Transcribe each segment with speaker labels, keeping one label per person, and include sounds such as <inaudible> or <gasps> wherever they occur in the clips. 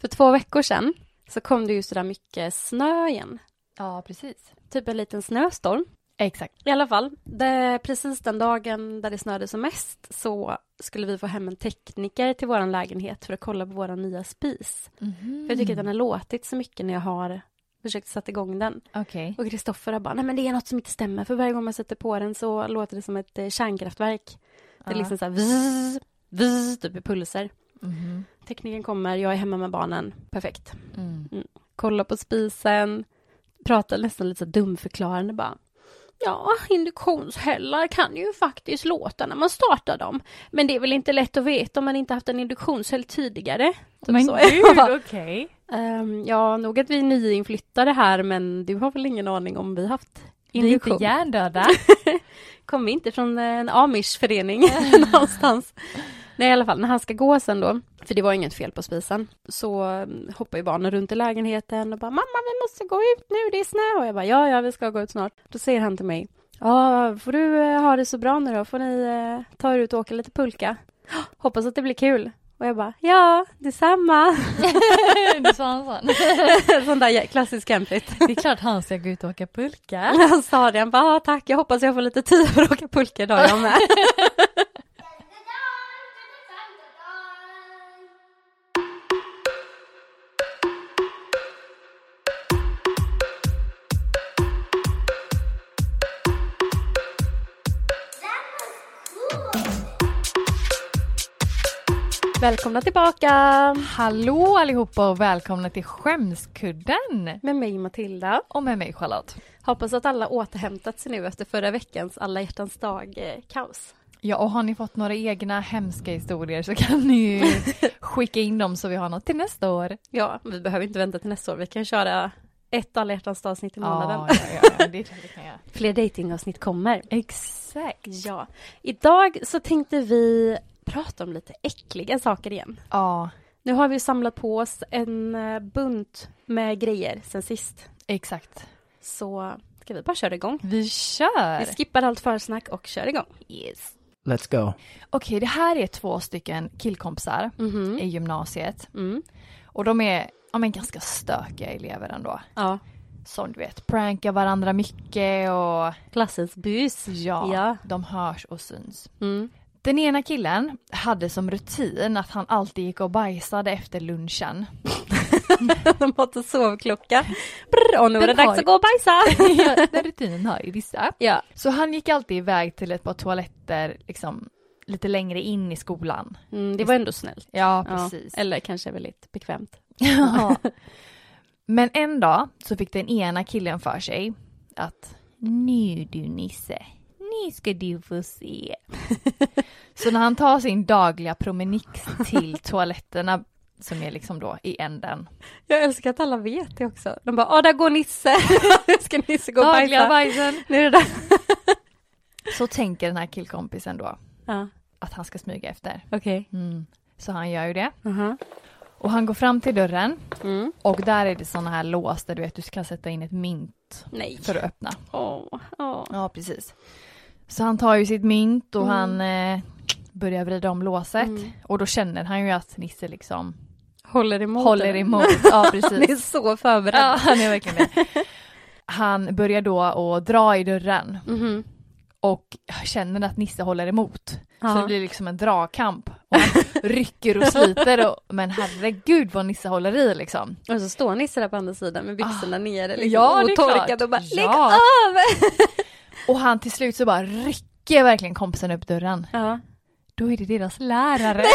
Speaker 1: För två veckor sedan så kom det ju sådär mycket snö igen.
Speaker 2: Ja, precis.
Speaker 1: Typ en liten snöstorm.
Speaker 2: Exakt.
Speaker 1: I alla fall, det, precis den dagen där det snöade som mest så skulle vi få hem en tekniker till vår lägenhet för att kolla på vår nya spis.
Speaker 2: Mhm.
Speaker 1: För jag tycker att den har låtit så mycket när jag har försökt sätta igång den.
Speaker 2: Okej.
Speaker 1: Och Kristoffer har bara, nej men det är något som inte stämmer för varje gång man sätter på den så låter det som ett eh, kärnkraftverk. Det är
Speaker 2: Ja.
Speaker 1: liksom så här vzz, vzz, typ i pulser.
Speaker 2: Mhm.
Speaker 1: Tekniken kommer, jag är hemma med barnen, perfekt.
Speaker 2: Mm.
Speaker 1: Kolla på spisen, pratar nästan lite så dumförklarande bara. Ja, induktionshällar kan ju faktiskt låta när man startar dem. Men det är väl inte lätt att veta om man inte haft en induktionshäll tidigare. Typ
Speaker 2: Men
Speaker 1: så.
Speaker 2: <laughs>
Speaker 1: Jag
Speaker 2: gud,
Speaker 1: bara,
Speaker 2: okej.
Speaker 1: ehm, ja, nog att vi är nyinflyttade här, men du har väl ingen aning om vi haft
Speaker 2: Vi är inte
Speaker 1: induktion?
Speaker 2: <laughs> hjärndöda.
Speaker 1: Kom vi inte från en amishförening någonstans? Nej, i alla fall, när han ska gå sen då, för det var inget fel på spisen, så mm, hoppar ju barnen runt i lägenheten och bara mamma, vi måste gå ut nu, det är snö. Och jag bara ja, ja, vi ska gå ut snart. Då säger han till mig, ja, får du eh, ha det så bra nu då, får ni eh, ta er ut och åka lite pulka. <gasps> Hoppas att det blir kul. Och jag bara ja, detsamma. <laughs>
Speaker 2: du sa han sån.
Speaker 1: Sån där klassisk campigt.
Speaker 2: Det är klart han ska gå ut och åka pulka.
Speaker 1: <laughs> Han sa det, han bara "Ja, tack, jag hoppas jag får lite tid för att åka pulka idag jag med. Välkomna tillbaka
Speaker 2: Hallå allihopa och välkomna till Skämskudden.
Speaker 1: med mig Matilda.
Speaker 2: Och med mig Charlotte.
Speaker 1: Hoppas att alla återhämtat sig nu efter förra veckans alla hjärtans eh, dag-kaos.
Speaker 2: Ja, och har ni fått några egna hemska historier så kan ni ju <laughs> skicka in dem så vi har något till nästa år.
Speaker 1: Ja, vi behöver inte vänta till nästa år. Vi kan köra ett alla hjärtans dag-avsnitt i månaden.
Speaker 2: Ja, ja, ja, ja, det är klart vi kan göra.
Speaker 1: Fler datingavsnitt kommer.
Speaker 2: Exakt.
Speaker 1: Ja, idag så tänkte vi prata om lite äckliga saker igen.
Speaker 2: Ja,
Speaker 1: Nu har vi ju samlat på oss en eh, bunt med grejer sen sist.
Speaker 2: exakt.
Speaker 1: Så ska vi bara köra igång.
Speaker 2: Vi kör!
Speaker 1: Vi skippar allt försnack och kör igång.
Speaker 2: Yes.
Speaker 3: Let's go.
Speaker 2: Okej, det här är två stycken killkompisar
Speaker 1: Mhm.
Speaker 2: i gymnasiet.
Speaker 1: Mm.
Speaker 2: Och de är ja, men ganska stökiga elever ändå.
Speaker 1: Ja,
Speaker 2: Som du vet, prankar varandra mycket och
Speaker 1: klassens bus.
Speaker 2: ja,
Speaker 1: Ja.
Speaker 2: de hörs och syns.
Speaker 1: Mm.
Speaker 2: Den ena killen hade som rutin att han alltid gick och bajsade efter lunchen.
Speaker 1: De har inte sovklocka. Brr, och nu är det
Speaker 2: Den
Speaker 1: dags
Speaker 2: har-
Speaker 1: att gå och bajsa.
Speaker 2: Ja, Den rutinen har ju vissa.
Speaker 1: <laughs> ja.
Speaker 2: Så han gick alltid iväg till ett par toaletter liksom lite längre in i skolan.
Speaker 1: Mm, det var ändå snällt.
Speaker 2: Ja,
Speaker 1: Ja,
Speaker 2: precis.
Speaker 1: Eller kanske väldigt bekvämt.
Speaker 2: Ja. <laughs> Men en dag så fick den ena killen för sig att nu du Nisse, nu ska du få se. så när han tar sin dagliga promenix
Speaker 1: <laughs>
Speaker 2: till toaletterna som är liksom då i änden.
Speaker 1: Jag älskar att alla vet det också. De bara, ah där går <laughs> Nisse. ska Nisse gå och bajsa?
Speaker 2: Dagliga bajsen.
Speaker 1: Nu är det dags.
Speaker 2: Så tänker den här killkompisen då
Speaker 1: Ja,
Speaker 2: att han ska smyga efter. Mm.
Speaker 1: okej.
Speaker 2: Så han gör ju det.
Speaker 1: Aha.
Speaker 2: Och han går fram till dörren
Speaker 1: Mm.
Speaker 2: och där är det sådana här lås där du vet du kan sätta in ett mynt
Speaker 1: Nej.
Speaker 2: för att öppna.
Speaker 1: Åh, åh.
Speaker 2: Ja, precis. Så han tar ju sitt mynt och han eh, börjar vrida om låset.
Speaker 1: Mm.
Speaker 2: Och då känner han ju att Nisse liksom
Speaker 1: Håller emot.
Speaker 2: håller
Speaker 1: den. <laughs>
Speaker 2: emot. Ja,
Speaker 1: Han är
Speaker 2: precis.
Speaker 1: så förberedd.
Speaker 2: ja, han är verkligen det. Han börjar då att dra i dörren
Speaker 1: Mhm.
Speaker 2: och känner att Nisse håller emot. Så
Speaker 1: Ja.
Speaker 2: det blir liksom en dragkamp. Och han rycker och sliter och, men herregud vad Nisse håller i liksom.
Speaker 1: Och så står Nisse där på andra sidan med byxorna nere, liksom
Speaker 2: Ja, det är klart.
Speaker 1: otorkad och bara lägg
Speaker 2: Ja.
Speaker 1: av!
Speaker 2: Och han till slut så bara rycker verkligen kompisen upp dörren.
Speaker 1: Ja.
Speaker 2: Då är det deras lärare. <laughs>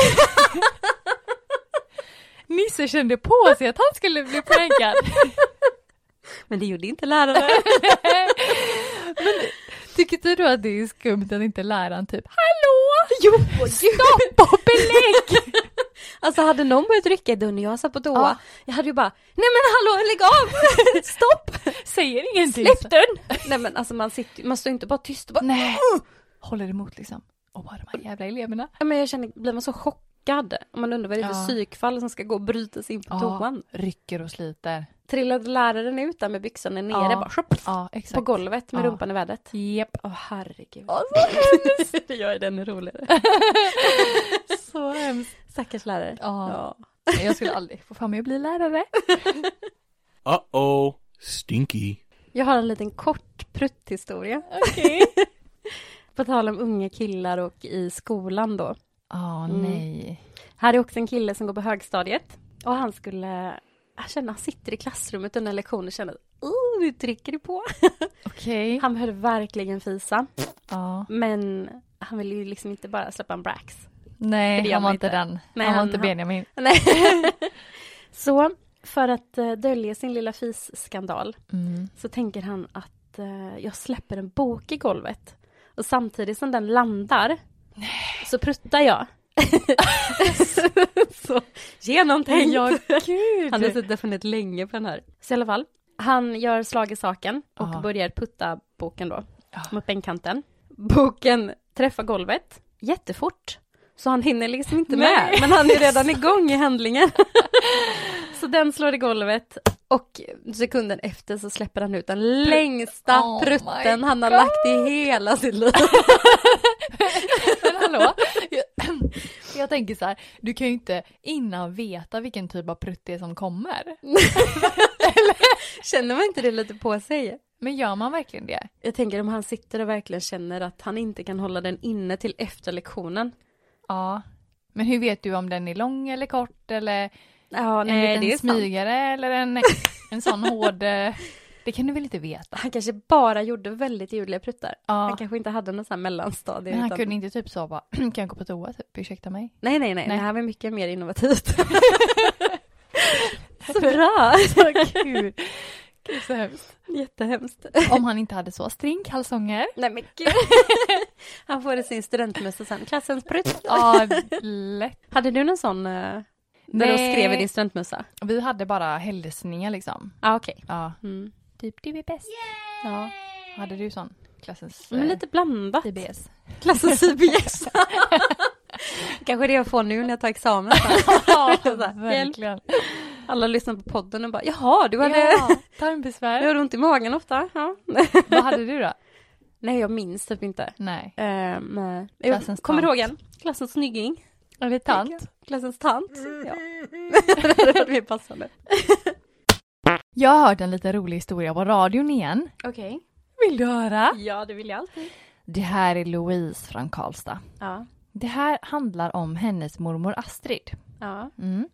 Speaker 2: Nisse kände på sig att han skulle bli prankad.
Speaker 1: Men det gjorde inte <laughs> läraren.
Speaker 2: Tycker inte du att det är skumt att inte läraren typ Hallå! Jo! Stopp och belägg!
Speaker 1: Alltså hade någon börjat rycka i dörren när jag satt på toa,
Speaker 2: Ja.
Speaker 1: jag hade ju bara Nej men hallå lägg av! <laughs>
Speaker 2: <laughs>
Speaker 1: Stopp!
Speaker 2: <laughs> Säger ingenting.
Speaker 1: Släpp dörren! Nej men alltså man, sitter, man står inte bara tyst och bara
Speaker 2: Nej. Håller emot liksom. Och bara de här jävla eleverna.
Speaker 1: Ja, men jag känner, blir man så chockad? Om man undrar vad det är för
Speaker 2: Ja.
Speaker 1: psykfall som ska gå och bryta sig in på toan.
Speaker 2: rycker och sliter.
Speaker 1: Trillade läraren ut där med byxorna nere
Speaker 2: Ja.
Speaker 1: bara shup,
Speaker 2: Ja,
Speaker 1: på
Speaker 2: exakt.
Speaker 1: golvet med
Speaker 2: Ja.
Speaker 1: rumpan i vädret?
Speaker 2: Japp.
Speaker 1: Åh herregud.
Speaker 2: Ja, <laughs>
Speaker 1: det gör den roligare.
Speaker 2: Så hemskt.
Speaker 1: <laughs> Stackars lärare.
Speaker 2: Ja.
Speaker 1: Ja.
Speaker 2: Nej, jag skulle aldrig få för mig att bli lärare.
Speaker 3: Uh-oh, stinky.
Speaker 1: Jag har en liten kort prutthistoria.
Speaker 2: Okej.
Speaker 1: <laughs> På tal om unga killar och i skolan då.
Speaker 2: Åh
Speaker 1: Mm.
Speaker 2: nej.
Speaker 1: Här är också en kille som går på högstadiet. Och han skulle... Jag känner, han sitter i klassrummet under en lektion och känner oh, nu trycker det på.
Speaker 2: Okej.
Speaker 1: Han behövde verkligen fisa.
Speaker 2: Ja.
Speaker 1: Men han ville ju liksom inte bara släppa en brax. Det
Speaker 2: Nej,
Speaker 1: gör
Speaker 2: han var
Speaker 1: man
Speaker 2: inte
Speaker 1: inte.
Speaker 2: den.
Speaker 1: Nej,
Speaker 2: han var
Speaker 1: han-
Speaker 2: inte Benjamin.
Speaker 1: Nej. Så för att eh, dölja sin lilla fisskandal <laughs>
Speaker 2: Mm.
Speaker 1: så tänker han att eh, jag släpper en bok i golvet. Och samtidigt som den landar så pruttar jag. <laughs> så genomtänkt.
Speaker 2: Ja,
Speaker 1: <laughs>
Speaker 2: gud.
Speaker 1: Han har suttit funnit länge på den här. Så i alla fall, han gör slag i saken och
Speaker 2: Ja.
Speaker 1: börjar putta boken då
Speaker 2: Ja.
Speaker 1: mot bänkkanten. Boken träffar golvet jättefort. Så han hinner liksom inte
Speaker 2: Nej.
Speaker 1: med, men han är <laughs> redan igång i handlingen. så den slår i golvet och sekunden efter så släpper han ut den längsta
Speaker 2: Oh my
Speaker 1: prutten han har
Speaker 2: God.
Speaker 1: lagt i hela sitt <laughs> liv.
Speaker 2: Men hallå, jag, <clears throat> jag tänker så här, du kan ju inte innan veta vilken typ av prutt det är som kommer.
Speaker 1: Känner man inte det lite på sig?
Speaker 2: Men gör man verkligen det?
Speaker 1: Jag tänker om han sitter och verkligen känner att han inte kan hålla den inne till efter lektionen.
Speaker 2: Ja. Men hur vet du om den är lång eller kort eller
Speaker 1: Ja,
Speaker 2: en
Speaker 1: nej,
Speaker 2: liten
Speaker 1: det är sant.
Speaker 2: smygare eller en, en sån hård? eh, Det kan du väl inte veta?
Speaker 1: Han kanske bara gjorde väldigt ljudliga pruttar. Han
Speaker 2: Ja.
Speaker 1: kanske inte hade någon sån här mellanstadie.
Speaker 2: Men han
Speaker 1: utan-
Speaker 2: kunde inte typ så bara, <clears throat> kan jag gå på toa typ, ursäkta <laughs> mig?
Speaker 1: Nej, nej, nej,
Speaker 2: Nej.
Speaker 1: det här var mycket mer
Speaker 2: <laughs>
Speaker 1: innovativt. så bra!
Speaker 2: Gud. Gud så hemskt.
Speaker 1: Jättehemskt.
Speaker 2: Om han inte hade så string kalsonger.
Speaker 1: Nej men
Speaker 2: <laughs>
Speaker 1: gud. Han får i sin studentmössa sen, klassens prutt.
Speaker 2: <laughs> Ja, lätt.
Speaker 1: Hade du någon sån eh, där du
Speaker 2: Nej.
Speaker 1: skrev i din studentmössa?
Speaker 2: Vi hade bara hälsningar liksom.
Speaker 1: Ja, okej.
Speaker 2: Ja.
Speaker 1: Mm.
Speaker 2: Typ du är bäst.
Speaker 1: Ja.
Speaker 2: Hade du sån? eh, Klassens
Speaker 1: Men lite blandat.
Speaker 2: IBS.
Speaker 1: Klassens IBS. Kanske det jag får nu när jag tar examen.
Speaker 2: <laughs> <laughs> Ja,
Speaker 1: Så här,
Speaker 2: verkligen.
Speaker 1: Alla lyssnar på podden och bara, jaha, du hade,
Speaker 2: Ja,
Speaker 1: du
Speaker 2: tarmbesvär.
Speaker 1: har ont i magen ofta. Ja.
Speaker 2: Vad hade du då?
Speaker 1: <laughs> Nej, jag minns typ inte.
Speaker 2: Nej.
Speaker 1: Um,
Speaker 2: Klassens
Speaker 1: jag kommer
Speaker 2: tant.
Speaker 1: ihåg en. Klassens snygging.
Speaker 2: Eller tant?
Speaker 1: Klassens tant. Ja. <laughs> det hade varit mer passande.
Speaker 2: Jag har hört en lite rolig historia på radion igen.
Speaker 1: Okej.
Speaker 2: Vill du höra?
Speaker 1: Ja, det vill jag alltid.
Speaker 2: Det här är Louise från Karlstad.
Speaker 1: Ja.
Speaker 2: Det här handlar om hennes mormor Astrid.
Speaker 1: Ja.
Speaker 2: Mm.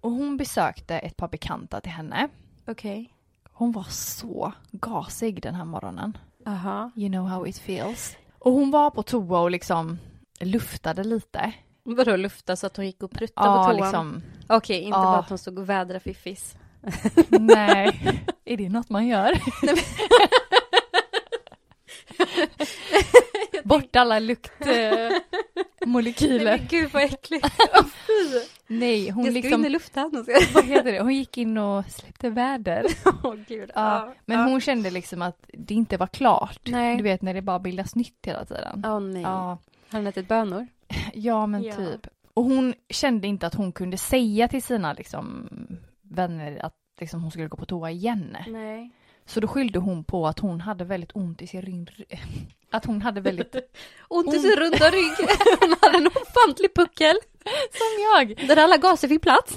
Speaker 2: Och hon besökte ett par bekanta till henne.
Speaker 1: Okej.
Speaker 2: Hon var så gasig den här morgonen.
Speaker 1: Aha.
Speaker 2: You know how it feels. Och hon var på toa och liksom luftade lite.
Speaker 1: Vadå lufta så att hon gick och pruttade på toan?
Speaker 2: liksom.
Speaker 1: Okej, inte
Speaker 2: Ja.
Speaker 1: bara att hon stod och vädrade fiffis.
Speaker 2: Nej. är det något
Speaker 1: <laughs>
Speaker 2: man gör? Bort alla
Speaker 1: Nej,
Speaker 2: luktmolekyler.
Speaker 1: men gud vad äckligt. <laughs>
Speaker 2: Nej, hon
Speaker 1: jag ska in i
Speaker 2: liksom...
Speaker 1: luften.
Speaker 2: <laughs>
Speaker 1: <laughs>
Speaker 2: Vad heter det? Hon gick in och släppte väder.
Speaker 1: Åh gud.
Speaker 2: Ja, men hon kände liksom att det inte var klart.
Speaker 1: Nej.
Speaker 2: Du vet när det bara bildas nytt hela tiden.
Speaker 1: Åh nej.
Speaker 2: Ja,
Speaker 1: Har hon ätit bönor?
Speaker 2: ja men
Speaker 1: Ja.
Speaker 2: typ. Och hon kände inte att hon kunde säga till sina liksom, vänner att liksom, hon skulle gå på toa igen.
Speaker 1: Nej.
Speaker 2: Så då skyllde hon på att hon hade väldigt ont i sin rygg. <laughs> Att hon
Speaker 1: <laughs>
Speaker 2: hade väldigt,
Speaker 1: Ont i
Speaker 2: Ont.
Speaker 1: sin runda <laughs> rygg. Hon hade en ofantlig puckel.
Speaker 2: som jag,
Speaker 1: Där alla gaser fick plats.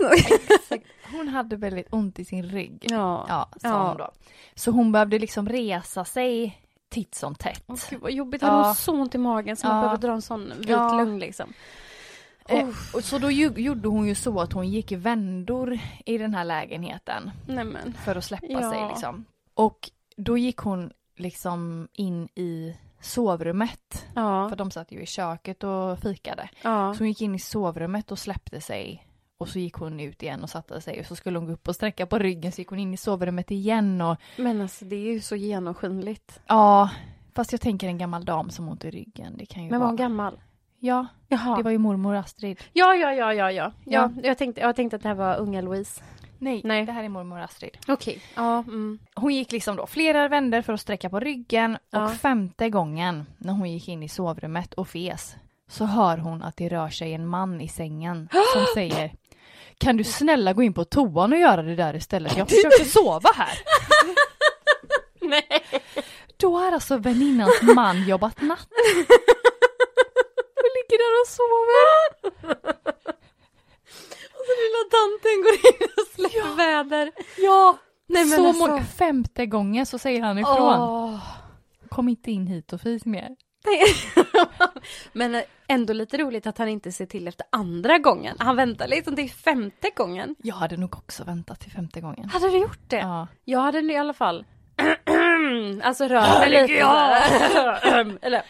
Speaker 2: hon hade väldigt ont i sin rygg.
Speaker 1: Ja.
Speaker 2: Ja, sa
Speaker 1: Ja.
Speaker 2: hon då. Så hon behövde liksom resa sig titt som tätt.
Speaker 1: Åh, gud vad jobbigt,
Speaker 2: Ja.
Speaker 1: hade hon så ont i magen så
Speaker 2: Ja.
Speaker 1: man behöver dra en sån vit
Speaker 2: Ja.
Speaker 1: lugn liksom.
Speaker 2: Eh, och så då ju, gjorde hon ju så att hon gick i vändor i den här lägenheten
Speaker 1: Nej men.
Speaker 2: för att släppa
Speaker 1: Ja.
Speaker 2: sig liksom. Och då gick hon liksom in i sovrummet,
Speaker 1: Ja.
Speaker 2: för de satt ju i köket och fikade.
Speaker 1: ja.
Speaker 2: Så hon gick in i sovrummet och släppte sig och så gick hon ut igen och satte sig och så skulle hon gå upp och sträcka på ryggen så gick hon in i sovrummet igen och
Speaker 1: Men alltså det är ju så genomskinligt.
Speaker 2: ja, fast jag tänker en gammal dam som har ont i ryggen, det kan ju
Speaker 1: Men var
Speaker 2: vara.
Speaker 1: hon gammal?
Speaker 2: Ja,
Speaker 1: Jaha.
Speaker 2: det var ju mormor Astrid.
Speaker 1: Ja, ja, ja, ja, ja.
Speaker 2: Ja.
Speaker 1: ja. Jag, tänkte, jag tänkte att det här var unga Louise.
Speaker 2: Nej,
Speaker 1: Nej.
Speaker 2: det här är mormor Astrid.
Speaker 1: Okej. Ja. Mm.
Speaker 2: Hon gick liksom då flera vändor för att sträcka på ryggen
Speaker 1: Ja.
Speaker 2: och femte gången när hon gick in i sovrummet och fes så hör hon att det rör sig en man i sängen
Speaker 1: <gasps>
Speaker 2: som säger Kan du snälla gå in på toan och göra det där istället?
Speaker 1: <gasps>
Speaker 2: Jag försöker sova här.
Speaker 1: Nej.
Speaker 2: Då har alltså väninnans <laughs> man jobbat natt.
Speaker 1: Hon ligger där <laughs> och sover. och så Lilla tanten går in och släpper väder.
Speaker 2: Ja!
Speaker 1: Nej, men
Speaker 2: så
Speaker 1: alltså.
Speaker 2: många, femte gången så säger han ifrån.
Speaker 1: Åh.
Speaker 2: Kom inte in hit och fis mer.
Speaker 1: Nej. <laughs> Men ändå lite roligt att han inte ser till efter andra gången. Han väntar liksom till femte gången.
Speaker 2: Jag hade nog också väntat till femte gången.
Speaker 1: Hade du gjort det?
Speaker 2: Ja.
Speaker 1: Jag hade nu i alla fall <clears throat> Alltså rört mig lite så här. <laughs> Eller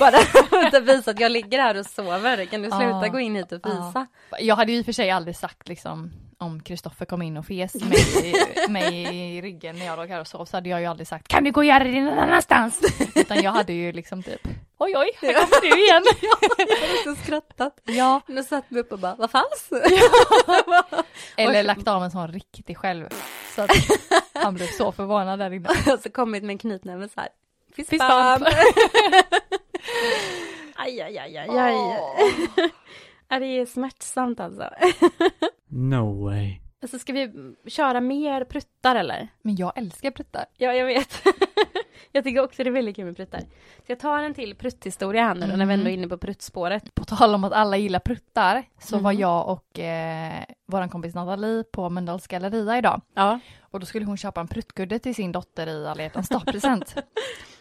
Speaker 1: bara <laughs> inte visa att jag ligger här och sover. Kan du sluta
Speaker 2: Ja.
Speaker 1: gå in hit och fisa?
Speaker 2: Jag hade ju i och för sig aldrig sagt liksom om Kristoffer kom in och fes mig,
Speaker 1: <laughs>
Speaker 2: i- mig i ryggen när jag låg här och sov så hade jag ju aldrig sagt kan du gå och göra det
Speaker 1: <laughs>
Speaker 2: någon annanstans? Utan jag hade ju liksom typ oj oj, här kommer du
Speaker 1: <laughs>
Speaker 2: igen.
Speaker 1: Jag hade inte skrattat.
Speaker 2: Ja,
Speaker 1: Nu satt mig upp och bara, vad <laughs> fanns?
Speaker 2: eller
Speaker 1: Oj.
Speaker 2: lagt av en sån riktig själv. Så att han blev så förvånad där inne.
Speaker 1: <laughs> Och så kommit med en knytnäve så här. Fist
Speaker 2: Fist
Speaker 1: bump.
Speaker 2: bump.
Speaker 1: aj, aj, aj, aj, aj. Ja, det är smärtsamt alltså.
Speaker 3: No way.
Speaker 1: Så ska vi köra mer pruttar eller?
Speaker 2: Men jag älskar pruttar.
Speaker 1: Ja, jag vet. <laughs> jag tycker också det är väldigt kul med pruttar. Så jag tar en till prutthistoria här nu då, när vi ändå är inne på pruttspåret.
Speaker 2: På tal om att alla gillar pruttar så var
Speaker 1: Mhm.
Speaker 2: jag och eh, vår kompis Nathalie på Mölndals galleria idag.
Speaker 1: Ja,
Speaker 2: Och då skulle hon köpa en pruttkudde till sin dotter i alla
Speaker 1: <laughs>
Speaker 2: hjärtans dagpresent.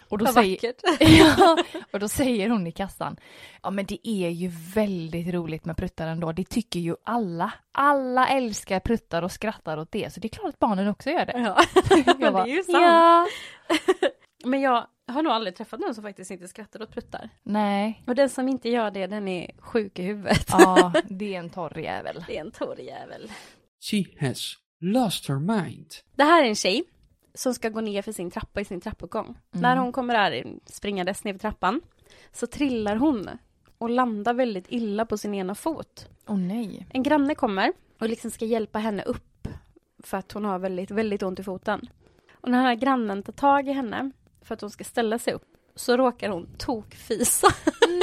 Speaker 2: Och
Speaker 1: <laughs>
Speaker 2: då,
Speaker 1: vad
Speaker 2: säger,
Speaker 1: <laughs> vackert.
Speaker 2: <laughs> ja, och då säger hon i kassan, ja men det är ju väldigt roligt med pruttar ändå, det tycker ju alla. Alla älskar pruttar och skrattar åt det, så det är klart att barnen också
Speaker 1: <laughs>
Speaker 2: gör det.
Speaker 1: Ja,
Speaker 2: Jag
Speaker 1: men det
Speaker 2: bara,
Speaker 1: är ju sant.
Speaker 2: ja.
Speaker 1: <laughs> Men jag har nog aldrig träffat någon som faktiskt inte skrattar åt pruttar.
Speaker 2: Nej,
Speaker 1: Och den som inte gör det, den är sjuk i huvudet.
Speaker 2: ja det är en torr jävel.
Speaker 1: Det är en torr jävel.
Speaker 3: She has lost her mind.
Speaker 1: Det här är en tjej som ska gå ner för sin trappa i sin trappuppgång. När hon kommer där springandes ner för trappan så trillar hon och landar väldigt illa på sin ena fot.
Speaker 2: Åh nej.
Speaker 1: En granne kommer och liksom ska hjälpa henne upp för att hon har väldigt, väldigt ont i foten. Och när den här grannen tar tag i henne för att hon ska ställa sig upp så råkar hon tokfisa. <laughs>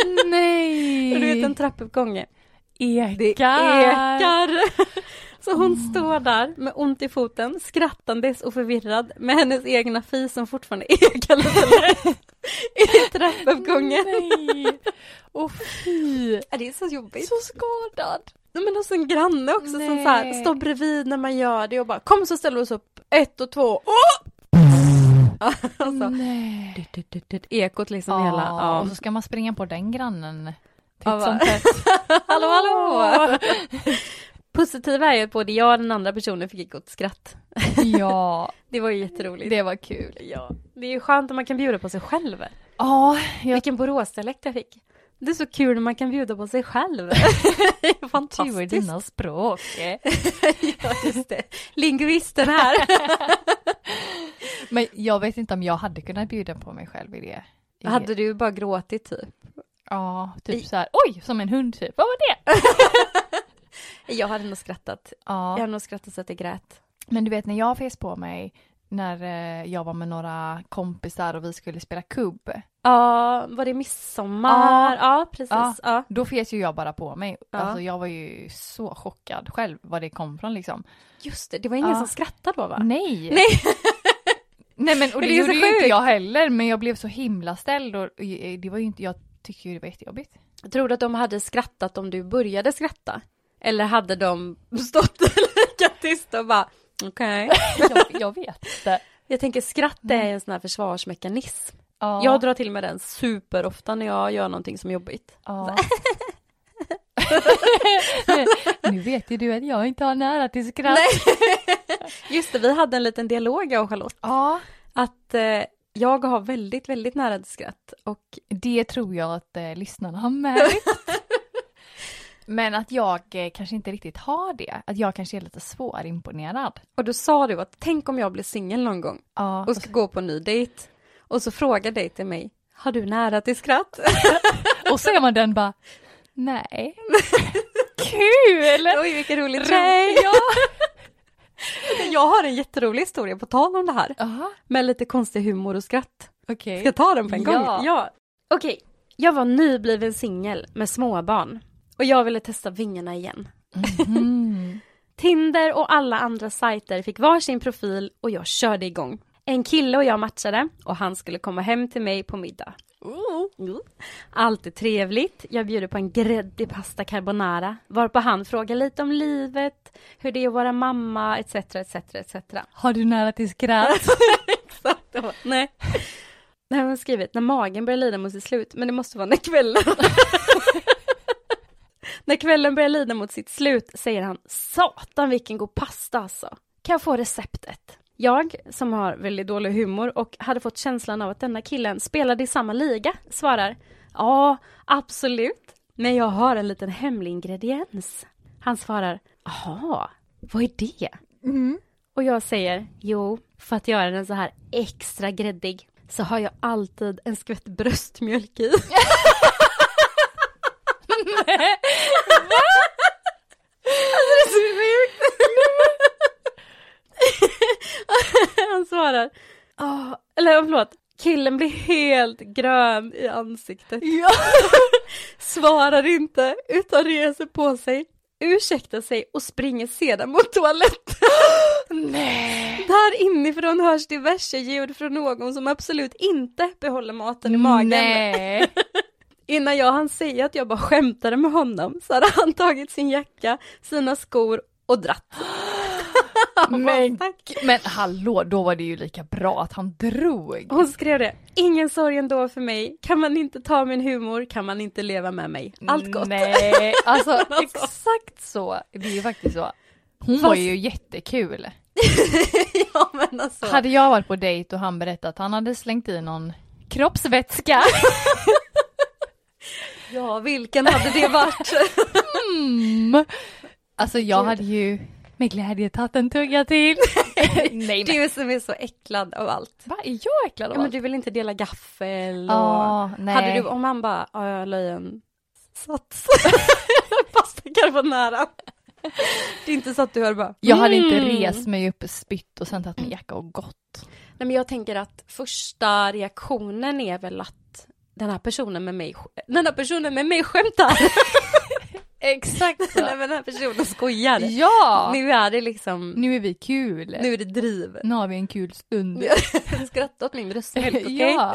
Speaker 2: Mm, Nej!
Speaker 1: Och <laughs> du vet en trappuppgång
Speaker 2: ekar.
Speaker 1: Det ekar! <laughs> Så hon står där med ont i foten, skrattandes och förvirrad med hennes egna fis som fortfarande <laughs> ekar lite lätt i trappuppgången.
Speaker 2: Nej! Åh fy!
Speaker 1: Ja, Det är så jobbigt.
Speaker 2: Så skadad.
Speaker 1: Nej, Men också en granne också som så här,
Speaker 2: Nej.
Speaker 1: står bredvid när man gör det och bara kom så ställer vi oss upp, ett och två, åh! Ja, alltså,
Speaker 2: Nej.
Speaker 1: du, du, du, du, ekot liksom
Speaker 2: Ja,
Speaker 1: hela, ja.
Speaker 2: och så ska man springa på den grannen.
Speaker 1: Ja,
Speaker 2: Titt som
Speaker 1: va? <laughs>
Speaker 2: tätt.
Speaker 1: Hallå hallå! Positiva är ju att både jag och den andra personen fick ett skratt.
Speaker 2: <laughs> Ja,
Speaker 1: Det var ju jätteroligt.
Speaker 2: det var kul.
Speaker 1: Ja, det är ju skönt om man kan bjuda på sig själv.
Speaker 2: Ja, jag
Speaker 1: Vilken Boråsdialekt jag fick. Det är så kul när man kan bjuda på sig <laughs> själv.
Speaker 2: tur
Speaker 1: Fantastiskt.
Speaker 2: dina språk.
Speaker 1: Ja, just det. Lingvisten här.
Speaker 2: Men jag vet inte om jag hade kunnat bjuda på mig själv i det.
Speaker 1: <laughs>
Speaker 2: I-
Speaker 1: Hade du bara gråtit typ?
Speaker 2: Ja,
Speaker 1: I-
Speaker 2: typ så här, oj, som en hund typ. Vad var det?
Speaker 1: Jag hade nog skrattat. Jag
Speaker 2: Ja,
Speaker 1: hade nog skrattat så att jag grät.
Speaker 2: men du vet när jag fes på mig när eh, jag var med några kompisar och vi skulle spela kubb.
Speaker 1: Ja, var det midsommar?
Speaker 2: Ja.
Speaker 1: Ja, precis. Ja.
Speaker 2: Ja. Då fes ju jag bara på mig.
Speaker 1: Ja.
Speaker 2: Alltså jag var ju så chockad själv var det kom från liksom.
Speaker 1: Just det, det var ingen
Speaker 2: Ja.
Speaker 1: som skrattade då va?
Speaker 2: Nej!
Speaker 1: <laughs> Nej.
Speaker 2: Nej men och
Speaker 1: Men
Speaker 2: det,
Speaker 1: det är
Speaker 2: gjorde
Speaker 1: så
Speaker 2: ju inte
Speaker 1: sjukt.
Speaker 2: jag heller men jag blev så himla ställd och och det var ju inte, jag tycker ju det
Speaker 1: <laughs>
Speaker 2: var jättejobbigt.
Speaker 1: Tror du att de hade skrattat om du började skratta? Eller hade de <laughs> stått lika tysta och bara <laughs> okej?
Speaker 2: Jag, jag vet inte.
Speaker 1: Jag tänker skratt är en sån här försvarsmekanism.
Speaker 2: Ja,
Speaker 1: Jag drar till med den superofta när jag gör någonting som är jobbigt. <laughs>
Speaker 2: ja. nu vet ju du att jag inte har nära till skratt.
Speaker 1: Just det, vi hade en liten dialog jag och Charlotte.
Speaker 2: Ja,
Speaker 1: Att eh, jag har väldigt, väldigt nära till skratt. Och
Speaker 2: det tror jag att eh, lyssnarna
Speaker 1: <laughs>
Speaker 2: har märkt. Men att jag eh, kanske inte riktigt har det. Att jag kanske är lite svårimponerad.
Speaker 1: och då sa du att tänk om jag blir singel någon gång
Speaker 2: Ja,
Speaker 1: och ska gå på en ny dejt. Och så frågar dejten mig, har du nära till skratt?
Speaker 2: och så är man den bara, nej. Kul!
Speaker 1: <laughs> Oj, vilken rolig
Speaker 2: Nej, <laughs>
Speaker 1: tjej! Jag har en jätterolig historia på tal om det här.
Speaker 2: Jaha,
Speaker 1: Med lite konstig humor och skratt.
Speaker 2: okej.
Speaker 1: Ska jag ta den på en gång?
Speaker 2: Ja.
Speaker 1: Okej, jag var nybliven singel med småbarn och jag ville testa vingarna igen.
Speaker 2: Mm.
Speaker 1: <laughs> Tinder och alla andra sajter fick varsin profil och jag körde igång. En kille och jag matchade och han skulle komma hem till mig på middag.
Speaker 2: Oh.
Speaker 1: Alltid trevligt. Jag bjuder på en gräddig pasta carbonara. Varpå han frågar lite om livet, hur det är att vara mamma, etc, etc, etc.
Speaker 2: Har du nära till skratt?
Speaker 1: Exakt. Jag bara, Nej. Det här har hon skrivit, när magen börjar lida mot sitt slut, men det måste vara när kvällen... <laughs> när kvällen börjar lida mot sitt slut säger han, satan vilken god pasta alltså. Kan jag få receptet? Jag, som har väldigt dålig humor och hade fått känslan av att denna killen spelade i samma liga, svarar, ja, absolut, men jag har en liten hemlig ingrediens. Han svarar, jaha, vad är det? Och jag säger, jo, för att göra den så här extra gräddig så har jag alltid en skvätt bröstmjölk i.
Speaker 2: Nej.
Speaker 1: Han svarar, oh, eller förlåt, killen blir helt grön i ansiktet.
Speaker 2: Ja.
Speaker 1: Svarar inte, utan reser på sig, ursäktar sig och springer sedan mot toaletten.
Speaker 2: Nej.
Speaker 1: Där inifrån hörs diverse ljud från någon som absolut inte behåller maten i magen.
Speaker 2: Nej.
Speaker 1: Innan jag hann säga att jag bara skämtade med honom så hade han tagit sin jacka, sina skor och dratt.
Speaker 2: <laughs> Men,
Speaker 1: Tack.
Speaker 2: men hallå, då var det ju lika bra att han drog.
Speaker 1: Hon skrev det, ingen sorg ändå för mig, kan man inte ta min humor kan man inte leva med mig. Allt gott.
Speaker 2: Nej, alltså exakt så. Det är ju faktiskt så. Hon var ju jättekul.
Speaker 1: ja men alltså.
Speaker 2: Hade jag varit på dejt och han berättat att han hade slängt i någon kroppsvätska.
Speaker 1: Ja vilken hade det <laughs> varit?
Speaker 2: Mm. Alltså jag hade ju med glädje tagit en tugga till. <laughs> Nej men.
Speaker 1: du som är så äcklad av allt.
Speaker 2: Va, är jag äcklad av
Speaker 1: Ja men
Speaker 2: allt?
Speaker 1: du vill inte dela gaffel och...
Speaker 2: Ja, nej.
Speaker 1: Hade du, om han bara, ja jag la i en
Speaker 2: <laughs>
Speaker 1: <laughs> sats. Pasta carbonara. Det är inte så att du hör bara,
Speaker 2: Jag hade inte
Speaker 1: mm.
Speaker 2: rest mig upp, spytt och sen tagit min jacka och gått.
Speaker 1: Nej men jag tänker att första reaktionen är väl att den här personen med mig, den här personen med mig skämtar.
Speaker 2: <laughs> Exakt
Speaker 1: <laughs> Nej men den här personen skojar.
Speaker 2: Ja!
Speaker 1: Nu är det liksom,
Speaker 2: Nu är vi kul.
Speaker 1: nu är det
Speaker 2: <laughs>
Speaker 1: driv.
Speaker 2: Nu har vi en kul <laughs> stund.
Speaker 1: Skratta åt min bröstmjölk, okej?
Speaker 2: <laughs> ja.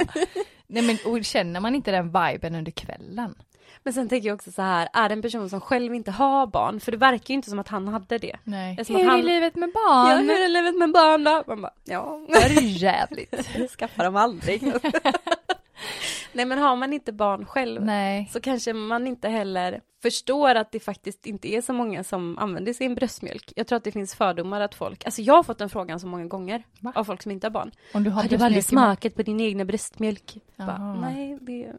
Speaker 2: Nej men och känner man inte den viben under kvällen?
Speaker 1: Men sen tänker jag också så här, är det en person som själv inte har barn? För det verkar ju inte som att han hade det.
Speaker 2: Nej.
Speaker 1: Det är som
Speaker 2: Hur
Speaker 1: att
Speaker 2: är
Speaker 1: han-
Speaker 2: livet med
Speaker 1: Ja,
Speaker 2: barn?
Speaker 1: hur är livet med barn då? Man bara, ja. <laughs>
Speaker 2: Det är ju <laughs> jävligt.
Speaker 1: Skaffa dem aldrig. <laughs> Nej men har man inte barn själv
Speaker 2: Nej.
Speaker 1: så kanske man inte heller förstår att det faktiskt inte är så många som använder sin bröstmjölk. Jag tror att det finns fördomar att folk, alltså jag har fått den frågan så många gånger
Speaker 2: Va?
Speaker 1: av folk som inte har barn.
Speaker 2: Om du har,
Speaker 1: Har du
Speaker 2: bröstmjölk
Speaker 1: aldrig
Speaker 2: i magen-
Speaker 1: smakat på din egna bröstmjölk? Bara,
Speaker 2: Jaha.
Speaker 1: Nej, det